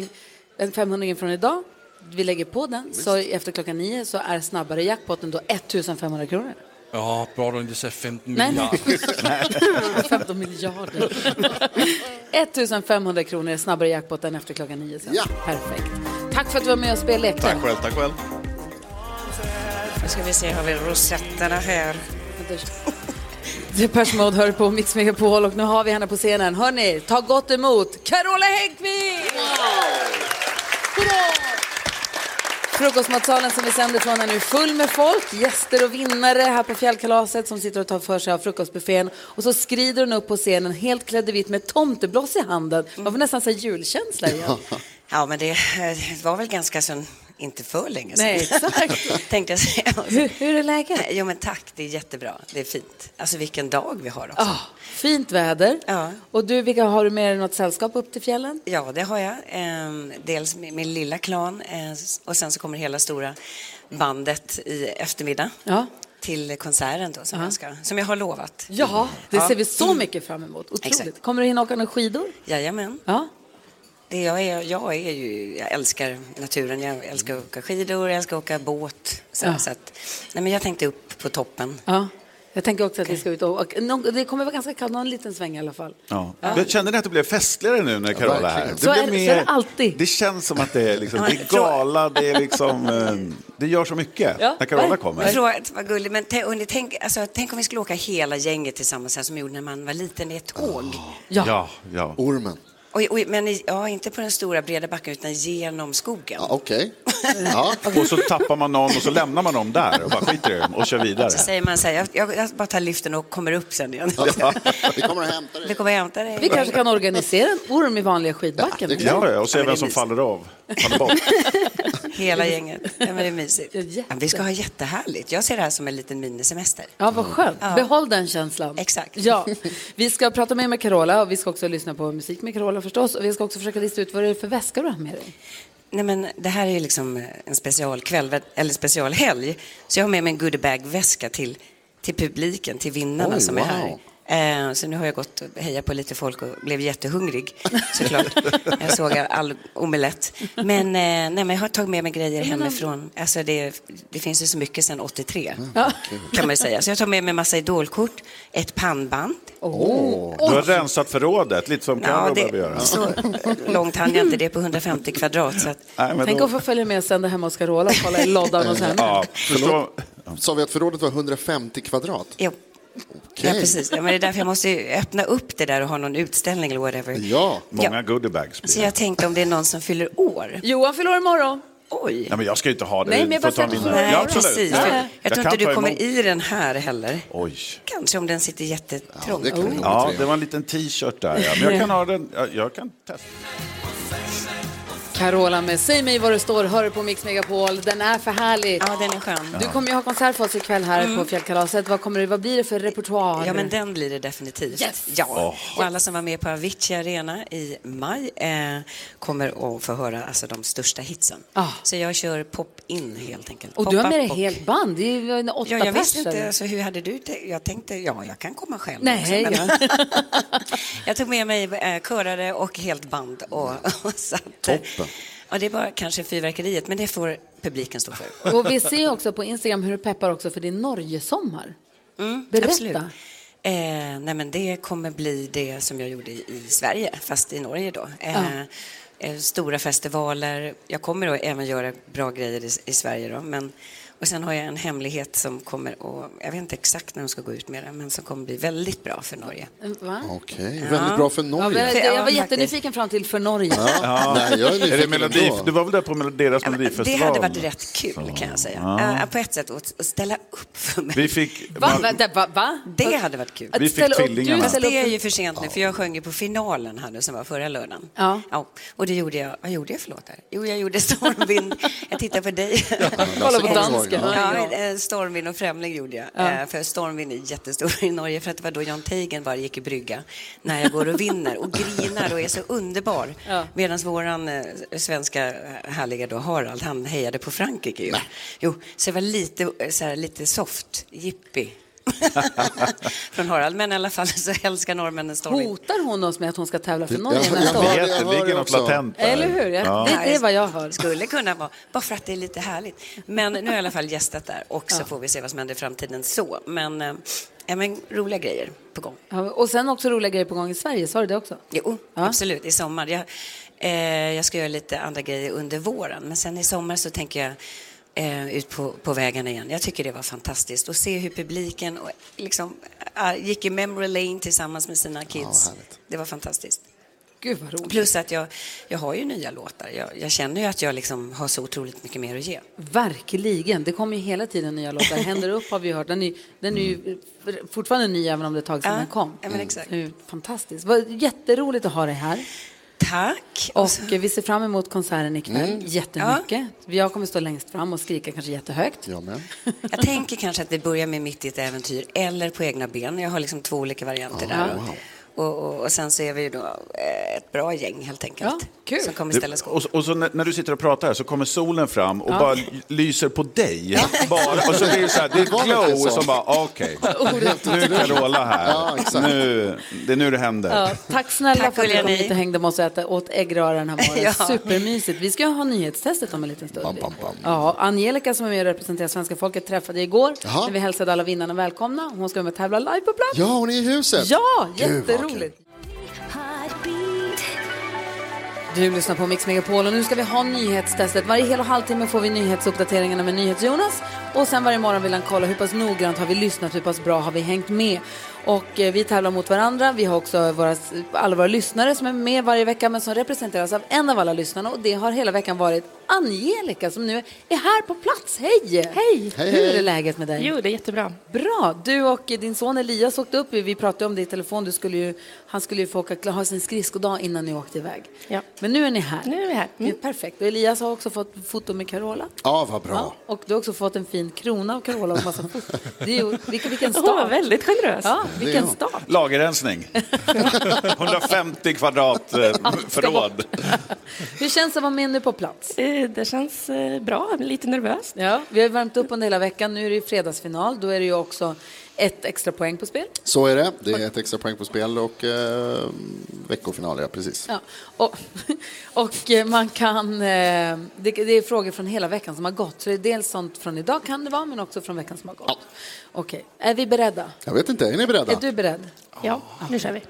B: den 500 från idag, vi lägger på den, så efter klockan nio så är snabbare jackpotten då 1500 kronor.
R: Ja, bra du inte säger 15
B: Nej, nej.
R: miljarder.
B: 15 miljarder. 1500 kronor är snabbare jackpotten efter klockan nio sen. Perfekt. Tack för att du var med och spelade lekte.
Q: Tack själv, tack själv.
S: Nu ska vi se, har vi rosetterna här?
B: Depeche Mode hör på Mix Megapol och nu har vi henne på scenen. Hörni, ta gott emot Carola Häggkvist! Frukostmatsalen som vi sänder från är nu full med folk, gäster och vinnare här på Fjällkalaset som sitter och tar för sig av frukostbuffén. Och så skrider hon upp på scenen helt klädd i vitt med tomtebloss i handen. Man får nästan så här julkänsla igen.
S: Ja, men det eh, var väl ganska så en inte för länge sedan.
F: Nej, exakt.
S: Tänkte jag säga.
F: Hur- hur
S: är läget? Jo, men tack, det är jättebra. Det är fint. Alltså vilken dag vi har också.
B: Ah, fint väder.
S: Ja.
B: Och du, vilka har du med dig något sällskap upp till fjällen?
S: Ja, det har jag. Ehm, Dels min min lilla klan eh, s- och sen så kommer hela stora bandet i eftermiddag
B: Ja.
S: till konserten då som,
B: Ja.
S: jag, ska, som jag har lovat.
B: Jaha, det
S: Ja.
B: ser vi så mycket fram emot. Otroligt.
S: Exakt.
B: Kommer du hinna åka några skidor?
S: Jajamän.
B: Ja.
S: Det jag, är, jag, är ju, jag älskar naturen, jag älskar att åka skidor, jag älskar att åka båt. Så,
B: Ja.
S: så att, nej, men jag tänkte upp på toppen.
B: Ja. Jag tänker också att vi ska ut och åka. Nå- Det kommer vara ganska kallt, någon liten sväng i alla fall.
H: Ja. Men Kände ni att det blev festligare nu när Carola är här?
B: verkligen. Så är
H: blev
B: det- så är det alltid.
H: Det känns som att det är, liksom, det är gala, det, är liksom, eh, det gör så mycket när Carola kommer.
S: Förlåt, vad gulligt. Men tänk, hörni, tänk, alltså, tänk om vi skulle åka hela gänget tillsammans, här, som vi gjorde när man var liten i ett tåg.
H: Ja. Ja,
D: Ormen.
S: Oj, oj, men i- ja, inte på den stora breda backen utan genom skogen.
D: Okej.
H: Ja. Och så tappar man någon och så lämnar man dem där och bara skiter i dem och kör vidare.
S: Så säger man så här, jag, jag, jag bara tar liften och kommer upp sen igen.
H: Ja.
D: Vi kommer att hämta dig.
S: Vi kommer att hämta dig.
B: Vi kanske kan organisera en orm i vanliga skidbacken.
H: Ja, ja, och se
S: Ja, men
H: vem
S: det
H: som
S: är
H: faller av. Faller bort.
S: Hela gänget. Ja, men det är mysigt. Ja, vi ska ha jättehärligt. Jag ser det här som en liten minisemester.
B: Ja, vad skönt.
S: Ja.
B: Behåll den känslan. Exakt. Ja. Vi ska prata mer med Carola och vi ska också lyssna på musik med Carola förstås. Och vi ska också försöka lista ut vad det är för väska du har med dig.
S: Nej, men det här är ju liksom en specialkväll, eller specialhelg. Så jag har med mig en goodiebag-väska till, till publiken, till vinnarna
F: Oj,
S: som
F: wow.
S: är här. Eh, så nu har jag gått och hejat på lite folk och blev jättehungrig såklart. jag såg all omelett. Men, eh, nej, men jag har tagit med mig grejer hemifrån. Alltså det, det finns ju så mycket sedan 83 kan man ju säga. Så jag tar med mig massa idolkort, ett pannband.
H: Åh, Du har rensat förrådet, lite som Carro
S: Ja,
H: behöver göra.
S: det, så långt hann jag inte det på 150 kvadrat. Så att,
H: Nej, men
B: Tänk
H: då-
B: att få följa med sen där hemma hos Carola och kolla i loddan hos henne.
D: Förlåt. Sa vi att förrådet var 150 kvadrat?
S: Jo.
D: Okej.
S: Ja, precis. Ja, men det är därför jag måste ju öppna upp det där och ha någon utställning eller whatever.
H: Ja, många
S: Ja.
H: goodiebags. blir
S: Så
H: det.
S: jag tänkte om det är någon som fyller år.
B: Johan fyller år imorgon.
S: Oj.
H: Nej, men jag ska ju inte ha det.
S: Nej, men
H: Vi
S: jag
H: får
S: bara
H: ta
S: tänkte-
H: mina-
S: Nej,
H: Ja, absolut.
S: precis.
H: Ja, ja.
S: Jag, jag tror
H: kan
S: inte du
H: ta
S: kommer
H: emot-
S: i den här heller.
H: Oj.
S: Kanske om den sitter jättetrångt.
H: Ja, det var en liten t-shirt där. Ja. Men jag kan ha den. Jag, jag kan testa.
B: Carola med Säg mig var du står, hör på Mix Megapol. Den är för härlig.
S: Ja, den är skön.
B: Du kommer ju ha konsert för oss ikväll här
S: Mm.
B: på Fjällkalaset. Vad, kommer det, vad blir det för repertoar?
S: Ja, men den blir det definitivt.
B: Yes.
S: Ja.
B: Åh.
S: Och alla som var med på Avicii Arena i maj eh, kommer att få höra alltså, de största hitsen. Så jag kör pop-in helt enkelt.
B: Och du har
S: Pop-up
B: med dig
S: och-
B: helt band. Det är ju en åtta
S: Ja, jag visste
B: pers,
S: inte.
B: eller?
S: Alltså, hur hade du tänkt? Jag tänkte, ja, jag kan komma själv.
B: Nej,
S: också, men- jag tog med mig eh, körare och helt band. Och, och satt, Toppen. Och det var kanske fyrverkeriet, men det får publiken stå för.
B: Och vi ser också på Instagram hur du peppar också för din Norgesommar.
S: Mm,
B: Berätta.
S: absolut. Eh, nej, men det kommer bli det som jag gjorde i, i Sverige, fast i Norge då. Eh,
B: Ja.
S: eh, Stora festivaler. Jag kommer då även göra bra grejer i, i Sverige då, men och sen har jag en hemlighet som kommer och jag vet inte exakt när de ska gå ut med den, men som kommer bli väldigt bra för Norge.
B: Eh, Va?
D: Okej,
S: Ja.
D: väldigt bra för
B: Ja,
D: Norge.
B: men, jag var
S: faktiskt.
B: jättenyfiken fram till för Norge.
D: Ja. Nej, jag är nyfiken
H: är det melodi?
D: ändå.
H: Du var väl där på mel- deras
S: Det
H: melodifestival?
S: hade varit rätt kul kan jag säga.
H: Ja.
S: Eh, på ett sätt att, att ställa upp för mig.
H: Vi fick...
S: Va?
H: man-
B: Vänta, va? va?
S: Det hade varit kul.
H: Att Vi fick ställa upp- du tvillingarna.
S: Fast
H: ställer
S: det
H: upp-
S: är ju för sent nu, för jag sjöng ju på finalen här nu som var förra lördagen.
B: Ja.
S: och det gjorde jag, vad gjorde jag för låtar? Jo, jag gjorde Stormvind, jag tittar på dig.
B: Kolla på dansken.
S: Ja, eh, Stormvind och Främling gjorde jag.
B: Ja.
S: Eh, För Stormvind är jättestor i Norge, för att det var då Jan Teigen bara gick i brygga när jag går och vinner och grinar och är så underbar.
B: Ja.
S: Medan våran eh, svenska eh, härliga då Harald, han hejade på Frankrike ju. Jo, så det var lite, eh, så här, lite soft, jippi från Harald, men i alla fall så älskar norrmännen Stormvind.
B: Hotar hon oss med att hon ska tävla för
S: Ja,
B: Norge
S: jag
B: nästa
S: vet,
B: år?
S: det Jag hör ligger det något också. latent där.
B: Eller hur? Jag,
S: Ja.
B: det, det är vad jag hör.
S: Skulle kunna vara, bara för att det är lite härligt. Men nu har jag i alla fall gästat där och så
B: Ja.
S: får vi se vad som händer i framtiden så. Men, eh, ja, men roliga grejer på gång.
B: Ja, och sen också roliga grejer på gång i Sverige, sa du det också?
S: Jo, absolut, i sommar. Jag, eh, jag ska göra lite andra grejer under våren, men sen i sommar så tänker jag eh, ut på, på vägarna igen. Jag tycker det var fantastiskt att se hur publiken och, liksom, eh, gick i memory lane tillsammans med sina kids. det var fantastiskt.
B: Gud vad roligt.
S: Plus att jag, jag har ju nya låtar. Jag, jag känner ju att jag liksom har så otroligt mycket mer att ge.
B: Verkligen, det kommer ju hela tiden nya låtar. Händer upp har vi ju hört. Den är, ju- den är ju fortfarande ny även om det är ett tag sedan
S: Ja,
B: den kom.
S: ja, men exakt.
B: Det är ju Fantastiskt. Vad- Jätteroligt att ha dig här.
S: Tack.
B: Och eh, vi ser fram emot konserten ikväll
S: Alltså- Mm.
B: jättemycket. Jag kommer stå längst fram och skrika kanske jättehögt.
D: Jag med.
S: Jag tänker kanske att vi börjar med Mitt i ett äventyr eller På egna ben. Jag har liksom två olika varianter
B: Ja.
S: där.
B: Wow.
S: Och, och, och sen så är vi ju då eh, ett bra gäng helt enkelt. Som kommer ställa skål.
H: och, så- och så när, när du sitter och pratar här så kommer solen fram och
S: Ja.
H: bara lyser på dig. Bara, och så blir det så här, det är
D: Det var
H: ett
D: väl det
H: glow
D: jag sa.
H: som bara, okej,
D: Helt
H: nu är
D: otroligt.
H: Carola här.
D: Ja, exakt.
H: nu, det är nu det händer.
B: Ja, tack snälla
S: Tack,
B: för att ni
S: gulliga
B: kom
S: ni.
B: hit och hängde med oss och äta, åt äggröra den här morgonen.
S: Ja.
B: Supermysigt. Vi ska ha nyhetstestet om en liten stund. Ja, Angelica som är med och representerar svenska folket träffade jag igår
D: Jaha.
B: när vi hälsade alla vinnarna välkomna. Hon ska vara med och tävla live på plats.
D: Ja, hon är i huset.
B: Ja,
D: Gud, vad
B: jätteroligt. Du lyssnar på Mix Megapol och nu ska vi ha nyhetstestet. Varje hel och halvtimme får vi nyhetsuppdateringarna med NyhetsJonas och sen varje morgon vill han kolla hur pass noggrant har vi lyssnat, hur pass bra har vi hängt med. Och eh, vi tävlar mot varandra. Vi har också våra, alla våra lyssnare som är med varje vecka men som representeras av en av alla lyssnarna och det har hela veckan varit Angelica som nu är här på plats. Hej! Hej!
T: Hej,
B: Hur
T: hej.
B: är läget med dig?
T: Jo, det är jättebra.
B: Bra! Du och din son Elias åkte upp. Vi pratade om det i telefon. Du skulle ju, han skulle ju få åka, ha sin skridskodag innan ni åkte iväg.
T: Ja.
B: Men nu är ni här.
T: Nu är vi här. Mm.
B: Det är perfekt. Och Elias har också fått foto med Carola.
D: Ja, vad bra.
B: Och du har också fått en fin krona av Carola och massa foto. Det är ju, vilken, vilken
T: Hon
B: start.
T: var väldigt generös.
B: Ja,
H: Det är
B: vilken
H: hon.
B: start.
H: Lagerrensning. 150 kvadrat eh, förråd.
B: Hur känns det att vara med nu på plats?
T: Det känns eh, bra, lite nervöst.
B: Ja, vi har ju värmt upp under hela veckan. Nu är det ju fredagsfinal. Då är det ju också ett extra poäng på spel.
D: Så är det. Det är ett extra poäng på spel och eh, veckofinal, ja precis.
B: Ja, och, och eh, man kan, eh, det, det är frågor från hela veckan som har gått. Så det är dels sånt från idag kan det vara, men också från veckan som har gått. Okej, är vi beredda?
D: Jag vet inte, är ni beredda?
B: Är du beredd?
T: Ja, nu kör vi.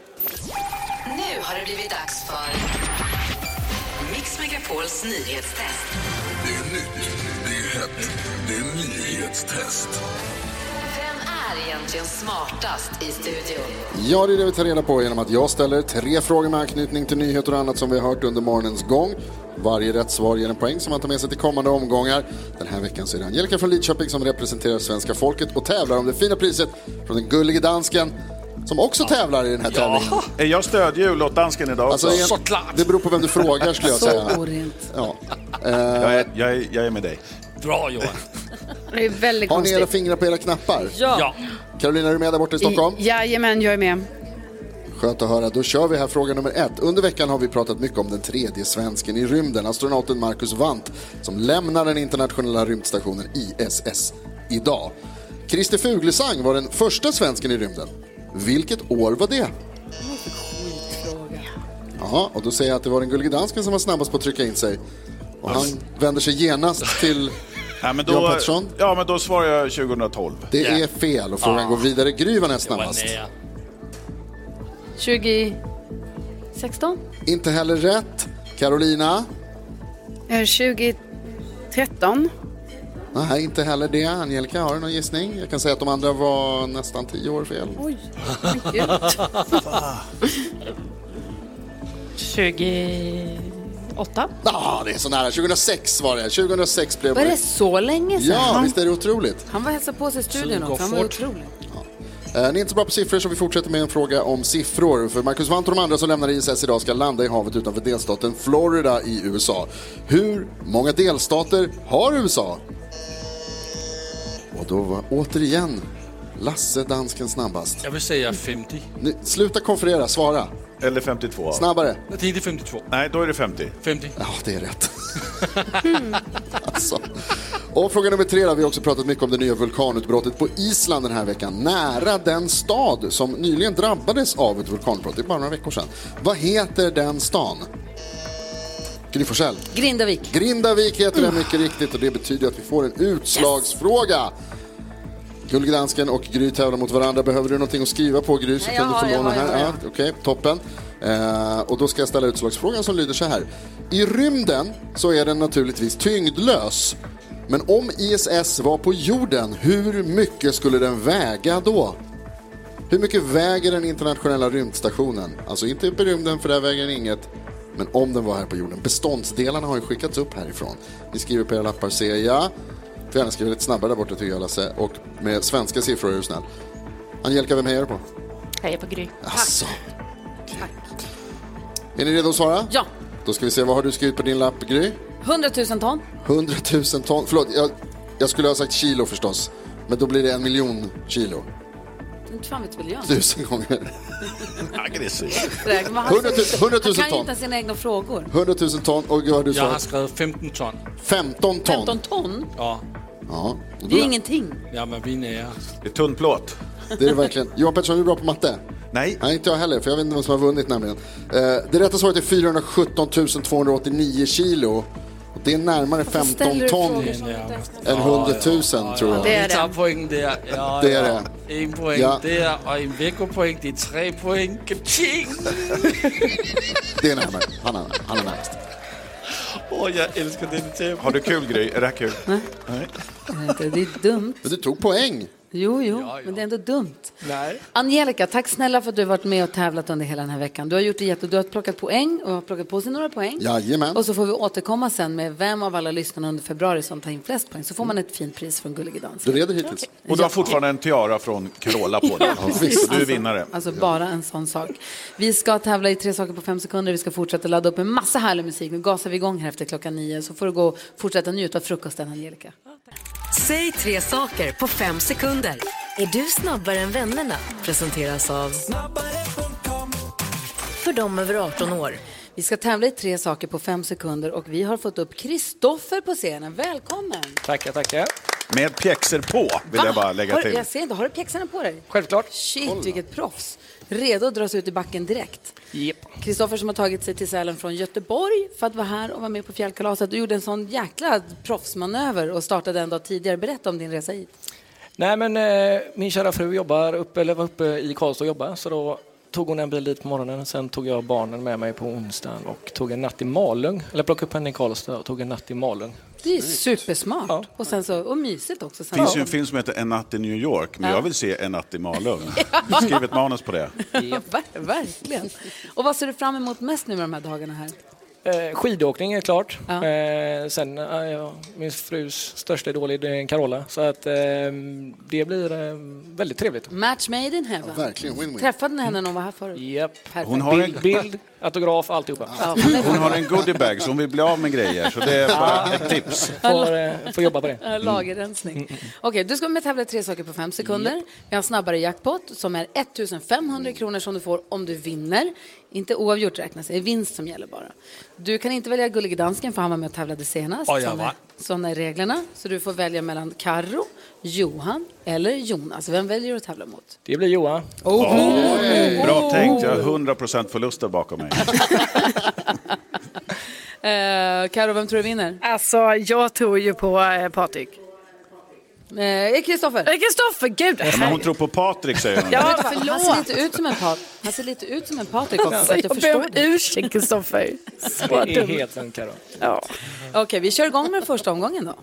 J: Nu har det blivit dags för Mix Megapols nyhetstest.
U: Det är nytt, det är hett, det är nyhetstest.
J: Vem är egentligen smartast i studion?
D: Ja, det är det vi tar reda på genom att jag ställer tre frågor med anknytning till nyheter och annat som vi har hört under morgonens gång. Varje rätt svar ger en poäng som man tar med sig till kommande omgångar. Den här veckan så är det Angelica från Lidköping som representerar svenska folket och tävlar om det fina priset från den gullige dansken som också tävlar i den här tävlingen.
H: Är Eh, jag stödhjul åt dansken idag också?
D: Alltså, det är- det beror på vem du frågar skulle jag
H: Så
D: säga.
B: orent.
D: Ja.
H: Jag är, jag, är, jag är med dig.
R: Bra Johan.
C: Det är väldigt
D: Har ni era
C: konstigt.
D: fingrar på era knappar?
C: Ja. Ja.
D: Carolina, är du med där borta i Stockholm?
C: Jajamän, jag är med.
D: Skönt att höra. Då kör vi här fråga nummer ett. Under veckan har vi pratat mycket om den tredje svensken i rymden, astronauten Marcus Wandt, som lämnar den internationella rymdstationen ISS idag. Christer Fuglesang var den första svensken i rymden. Vilket år var det? Ja, och då säger jag att det var den gullige dansken som var snabbast på att trycka in sig. Och han vänder sig genast till
H: Ja, men
D: Jan
H: då,
D: Pettersson.
H: ja, men då svarar jag 2012.
D: Det är fel och frågan
H: Ah.
D: går vidare. Gry var näst snabbast.
T: 2016?
D: Inte heller rätt. Carolina?
C: Eh, 2013.
D: Nej, inte heller det. Angelica, har du någon gissning? Jag kan säga att de andra var nästan tio år fel.
T: Oj. Gud. 28?
D: Ja, ah, det är så nära. 2006 var det. 2006 blev
B: Var det så länge sedan?
D: Ja, visst är det otroligt.
B: Han var och hälsade på sig i studion
D: Tiden går
B: också. Han var
D: fort.
B: otrolig.
D: Eh, Ni är inte så bra på siffror så vi fortsätter med en fråga om siffror. För Marcus Wandt och de andra som lämnar ISS idag ska landa i havet utanför delstaten Florida i USA. Hur många delstater har USA? Och då var återigen Lasse dansken snabbast.
R: Jag vill säga 50.
D: Nu, sluta konferera, svara.
H: Eller 52.
D: Snabbare.
R: Jag tänkte 52.
H: Nej, då är det 50.
R: 50.
D: Ja, det är rätt. alltså. Och fråga nummer tre, då. vi har också pratat mycket om det nya vulkanutbrottet på Island den här veckan. Nära den stad som nyligen drabbades av ett vulkanutbrott, det är bara några veckor sedan. Vad heter den stan? Gry Forssell.
B: Grindavik.
D: Grindavik heter den mycket riktigt och det betyder att vi får en utslagsfråga. Gullige dansken och Gry tävlar mot varandra. Behöver du någonting att skriva på Gry så
B: Nej,
D: kan
B: jag
D: du få
B: har, jag
D: låna
B: har, jag
D: här.
B: har.
D: Ja, Okej, toppen. Eh, och då ska jag ställa utslagsfrågan som lyder så här. I rymden så är den naturligtvis tyngdlös. Men om ISS var på jorden, hur mycket skulle den väga då? Hur mycket väger den internationella rymdstationen? Alltså inte upp i rymden, för där väger den inget. Men om den var här på jorden. Beståndsdelarna har ju skickats upp härifrån. Ni skriver på era lappar, ser jag. Får gärna skriva lite snabbare där borta tycker jag, Lasse. Och med svenska siffror är du snäll. Angelica, vem hejar du på?
T: Jag är på Gry.
D: Alltså. Är ni redo att svara?
B: Ja.
D: Då ska vi se, vad har du skrivit på din lapp, Gry?
B: 100 000 ton.
D: 100 000 ton. Förlåt, jag, jag skulle ha sagt kilo förstås. Men då blir det en miljon kilo.
B: Inte fan vet väl jag.
D: Tusen gånger. Aggressiv.
B: Räkna vad han
D: 100 000
B: säger.
D: 100 000
B: Han kan ju
D: ton.
B: inte ens sina egna frågor.
D: 100 000 ton. Och vad har du
R: Jag har
D: svarat?
R: skrevet 15 ton.
D: 15 ton.
B: 15 ton?
R: Ja.
D: Ja.
B: Det är ingenting.
R: Ja, men vi är nära.
H: Det är tunn plåt.
D: Det är det verkligen. Johan Pettersson, är du bra på matte?
H: Nej.
D: Nej, inte jag heller, för jag vet inte vem som har vunnit nämligen. Eh, det rätta svaret är 417 289 kilo. Och det är närmare 15 ton än 100 000 tror jag.
R: Det är det.
T: Alltså,
R: tar poäng där. Ja,
D: Det är
R: ja. En poäng
D: Ja.
R: där och en veckopoäng. Det är tre poäng. Ting!
D: Det är närmare. Han är, han är närmast.
R: Åh, jag älskar den tävlingen.
H: Har du kul Gry? Är det här kul?
B: Nej. Det är dumt.
D: Men du tog poäng.
B: Jo, jo, men det är ändå dumt.
R: Nej.
B: Angelica, tack snälla för att du har varit med och tävlat under hela den här veckan. Du har gjort det jätte... Du har plockat poäng och har plockat på sig några poäng.
D: Jajamän.
B: Och så får vi återkomma sen med vem av alla lyssnarna under februari som tar in flest poäng. Så får man ett fint pris från Gullige Dans.
D: Du leder hittills.
H: Och du har fortfarande en tiara från Carola på dig.
B: Ja, precis.
H: Så du är vinnare.
B: Alltså bara en sån sak. Vi ska tävla i tre saker på fem sekunder. Vi ska fortsätta ladda upp med massa härlig musik. Nu gasar vi igång här efter klockan nio. Så får du gå och fortsätta njuta av frukosten, Angelica.
J: Säg tre saker på fem sekunder. Är du snabbare än vännerna? Presenteras av... För dem över 18 år.
B: Vi ska tävla i tre saker på fem sekunder och vi har fått upp Kristoffer på scenen. Välkommen!
R: Tackar, tackar.
H: Med pjäxor på, vill jag bara lägga
B: Har-
H: till.
B: alltså- Jag ser inte, har du pjäxorna på dig?
R: Självklart.
B: Shit, vilket proffs. Redo att dras ut i backen direkt.
R: Yep.
B: Kristoffer som har tagit sig till Sälen från Göteborg för att vara här och vara med på fjällkalaset och gjorde en sån jäkla proffsmanöver och startade en dag tidigare. Berätta om din resa hit.
I: Nej, men eh, min kära fru jobbar uppe, eller var uppe i Karlstad och jobbade, så då tog hon en bil dit på morgonen. Sen tog jag barnen med mig på onsdagen och tog en natt i Malung. Eller plockade upp henne i Karlstad och tog en natt i Malung.
B: Det är ju supersmart och, sen så, och mysigt också.
H: Det finns ju en film som heter En natt i New York, men
B: Ja.
H: jag vill se En natt i Malung.
B: Ja.
H: Skriv ett manus på det.
B: Ja, ver- verkligen. Och vad ser du fram emot mest nu med de här dagarna här?
I: Eh, skidåkning är klart. Eh, sen, eh, ja, min frus största idol är eh, Carola, så att eh, det blir eh, väldigt trevligt.
B: Match made in heaven.
I: verkligen. Win-win.
B: Träffade ni henne när hon var här förut?
I: Japp.
B: Perfekt.
H: Hon har en-
I: bild, bild, autograf, alltihopa.
B: Ja.
H: Hon har en goodiebag så hon vill bli av med grejer, så det är bara ett tips.
I: Får, eh, får jobba på det.
B: Ja, Lagerrensning. Okej, du ska med och tävla i tre saker på fem sekunder. Vi har en snabbare jackpot som är 1500 kronor som du får om du vinner. Inte oavgjort räknas, det är vinst som gäller bara. Du kan inte välja Gullige Dansken för han var med och tävlade senast.
R: Oj, jag
B: Såna-
R: var.
B: Såna är reglerna. Så du får välja mellan Karro, Johan eller Jonas. Vem väljer du att tävla mot?
I: Det blir Johan.
H: Oj, Bra tänkt, jag
B: Oh.
H: har 100% förluster bakom mig.
B: Eh, Karo, vem tror du vinner?
T: Alltså, jag tror ju på eh, Patrik.
B: Kristoffer. Ah,
T: Eh, Kristoffer, gud!
H: Ja, Men hon tror på Patrik, säger hon.
T: Ja,
B: Vet du vad? Han ser
T: förlåt.
B: lite ut som en pat. Han ser lite ut som en Patrik också, så
T: Alltså, jag
B: att jag
T: ber om
B: förstår. det.
T: ursäkt, Kristoffer.
I: Det
T: Så
I: är
T: dumt.
I: helt lugnt, Karo.
T: Ja.
B: Okej, vi kör igång med den första omgången då.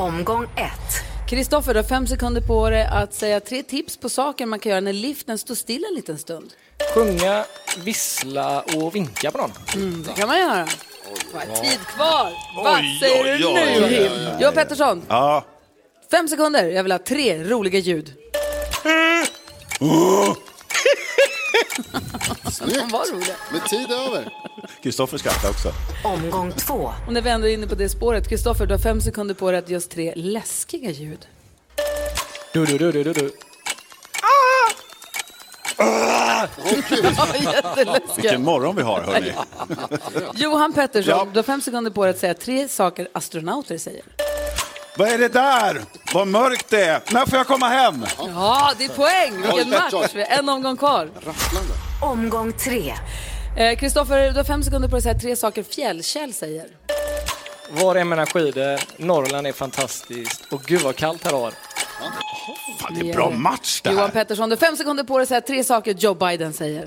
J: Omgång ett.
B: Kristoffer, du har fem sekunder på dig att säga tre tips på saker man kan göra när liften står stilla en liten stund.
I: Sjunga, vissla och vinka på någon.
B: Mm, Det kan man göra. Vad tid kvar! Vad
I: Oj,
B: säger
I: oj,
B: du
I: oj,
B: nu?
I: oj, oj, oj.
B: Johan Pettersson,
H: Ja.
B: fem sekunder. Jag vill ha tre roliga ljud. De var roliga.
D: Med tid över.
H: Kristoffer skrattar också.
J: Omgång två.
B: Och när vi ändå är inne på det spåret, Kristoffer, du har fem sekunder på dig att ge oss tre läskiga ljud.
I: Du, du, du, du, du, du.
H: Vilken morgon vi har, hörni.
B: Johan Pettersson,
H: Ja.
B: du har fem sekunder på dig att säga tre saker astronauter säger.
H: Vad är det där? Vad mörkt det är. När får jag komma hem?
B: Ja, det är poäng! Vilken
H: Oj, Pettersson.
B: match! Vi har en omgång kvar. Eh,
J: Omgång tre.
B: Kristoffer, du har fem sekunder på dig att säga tre saker Fjällkäll säger.
I: Var är mina skidor? Norrland är fantastiskt. Och gud vad kallt här var.
H: Fan, det är bra match det
B: Johan
H: här.
B: Pettersson, du har fem sekunder på dig att säga tre saker Joe Biden säger.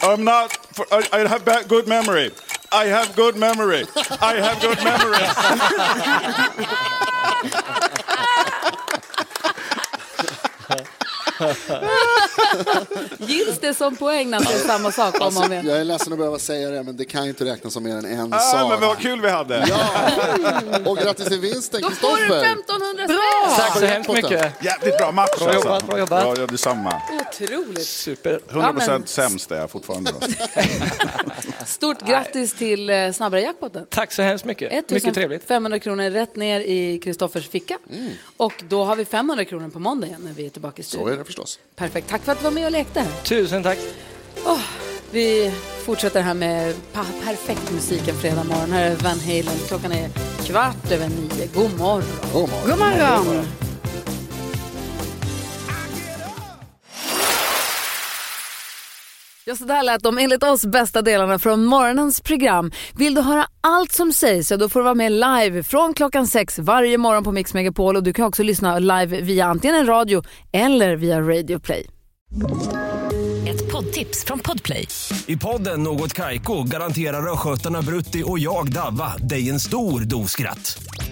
H: I'm not... For, I, I have ba- good memory. I have good memory. I have good memory.
B: Gills det som poäng när det är samma sak om
D: Alltså,
B: och om igen?
D: jag är ledsen att behöva säga det, men det kan ju inte räknas som mer än en
H: Ah,
D: sak.
H: men vad kul vi hade!
D: Och grattis till vinsten,
B: Då får du
D: Kristoffer!
B: 1500
D: Bra!
B: spänn!
D: Tack så hemskt mycket.
H: Jävligt bra match
D: Bra
H: alltså.
D: jobbat, bra jobbat.
H: Ja, ja, detsamma.
B: Otroligt.
I: Super.
H: 100
B: Ja, men-
H: procent sämst är jag fortfarande. Då.
B: Stort grattis till eh, snabbare jackpoten.
I: Tack så hemskt mycket. Mycket trevligt.
B: 500 kronor rätt ner i Kristoffers ficka. Och då har vi 500 kronor på måndag igen när vi är tillbaka i studion.
D: Mm. Så är det förstås.
B: Perfekt. Tack för att du var med och lekte.
I: Tusen tack.
B: Åh, vi fortsätter här med pa- perfekt musik en fredag morgon. Här är Van Halen. Klockan är kvart över nio. God morgon.
D: God
B: morgon.
C: God morgon.
B: Ja, så där lät de enligt oss bästa delarna från morgonens program. Vill du höra allt som sägs så då får du vara med live från klockan sex varje morgon på Mix Megapol och du kan också lyssna live via antingen en radio eller via Radio Play.
J: Ett poddtips från Podplay.
P: I podden Något Kaiko garanterar östgötarna Brutti och jag, Davva, dig en stor dos skratt.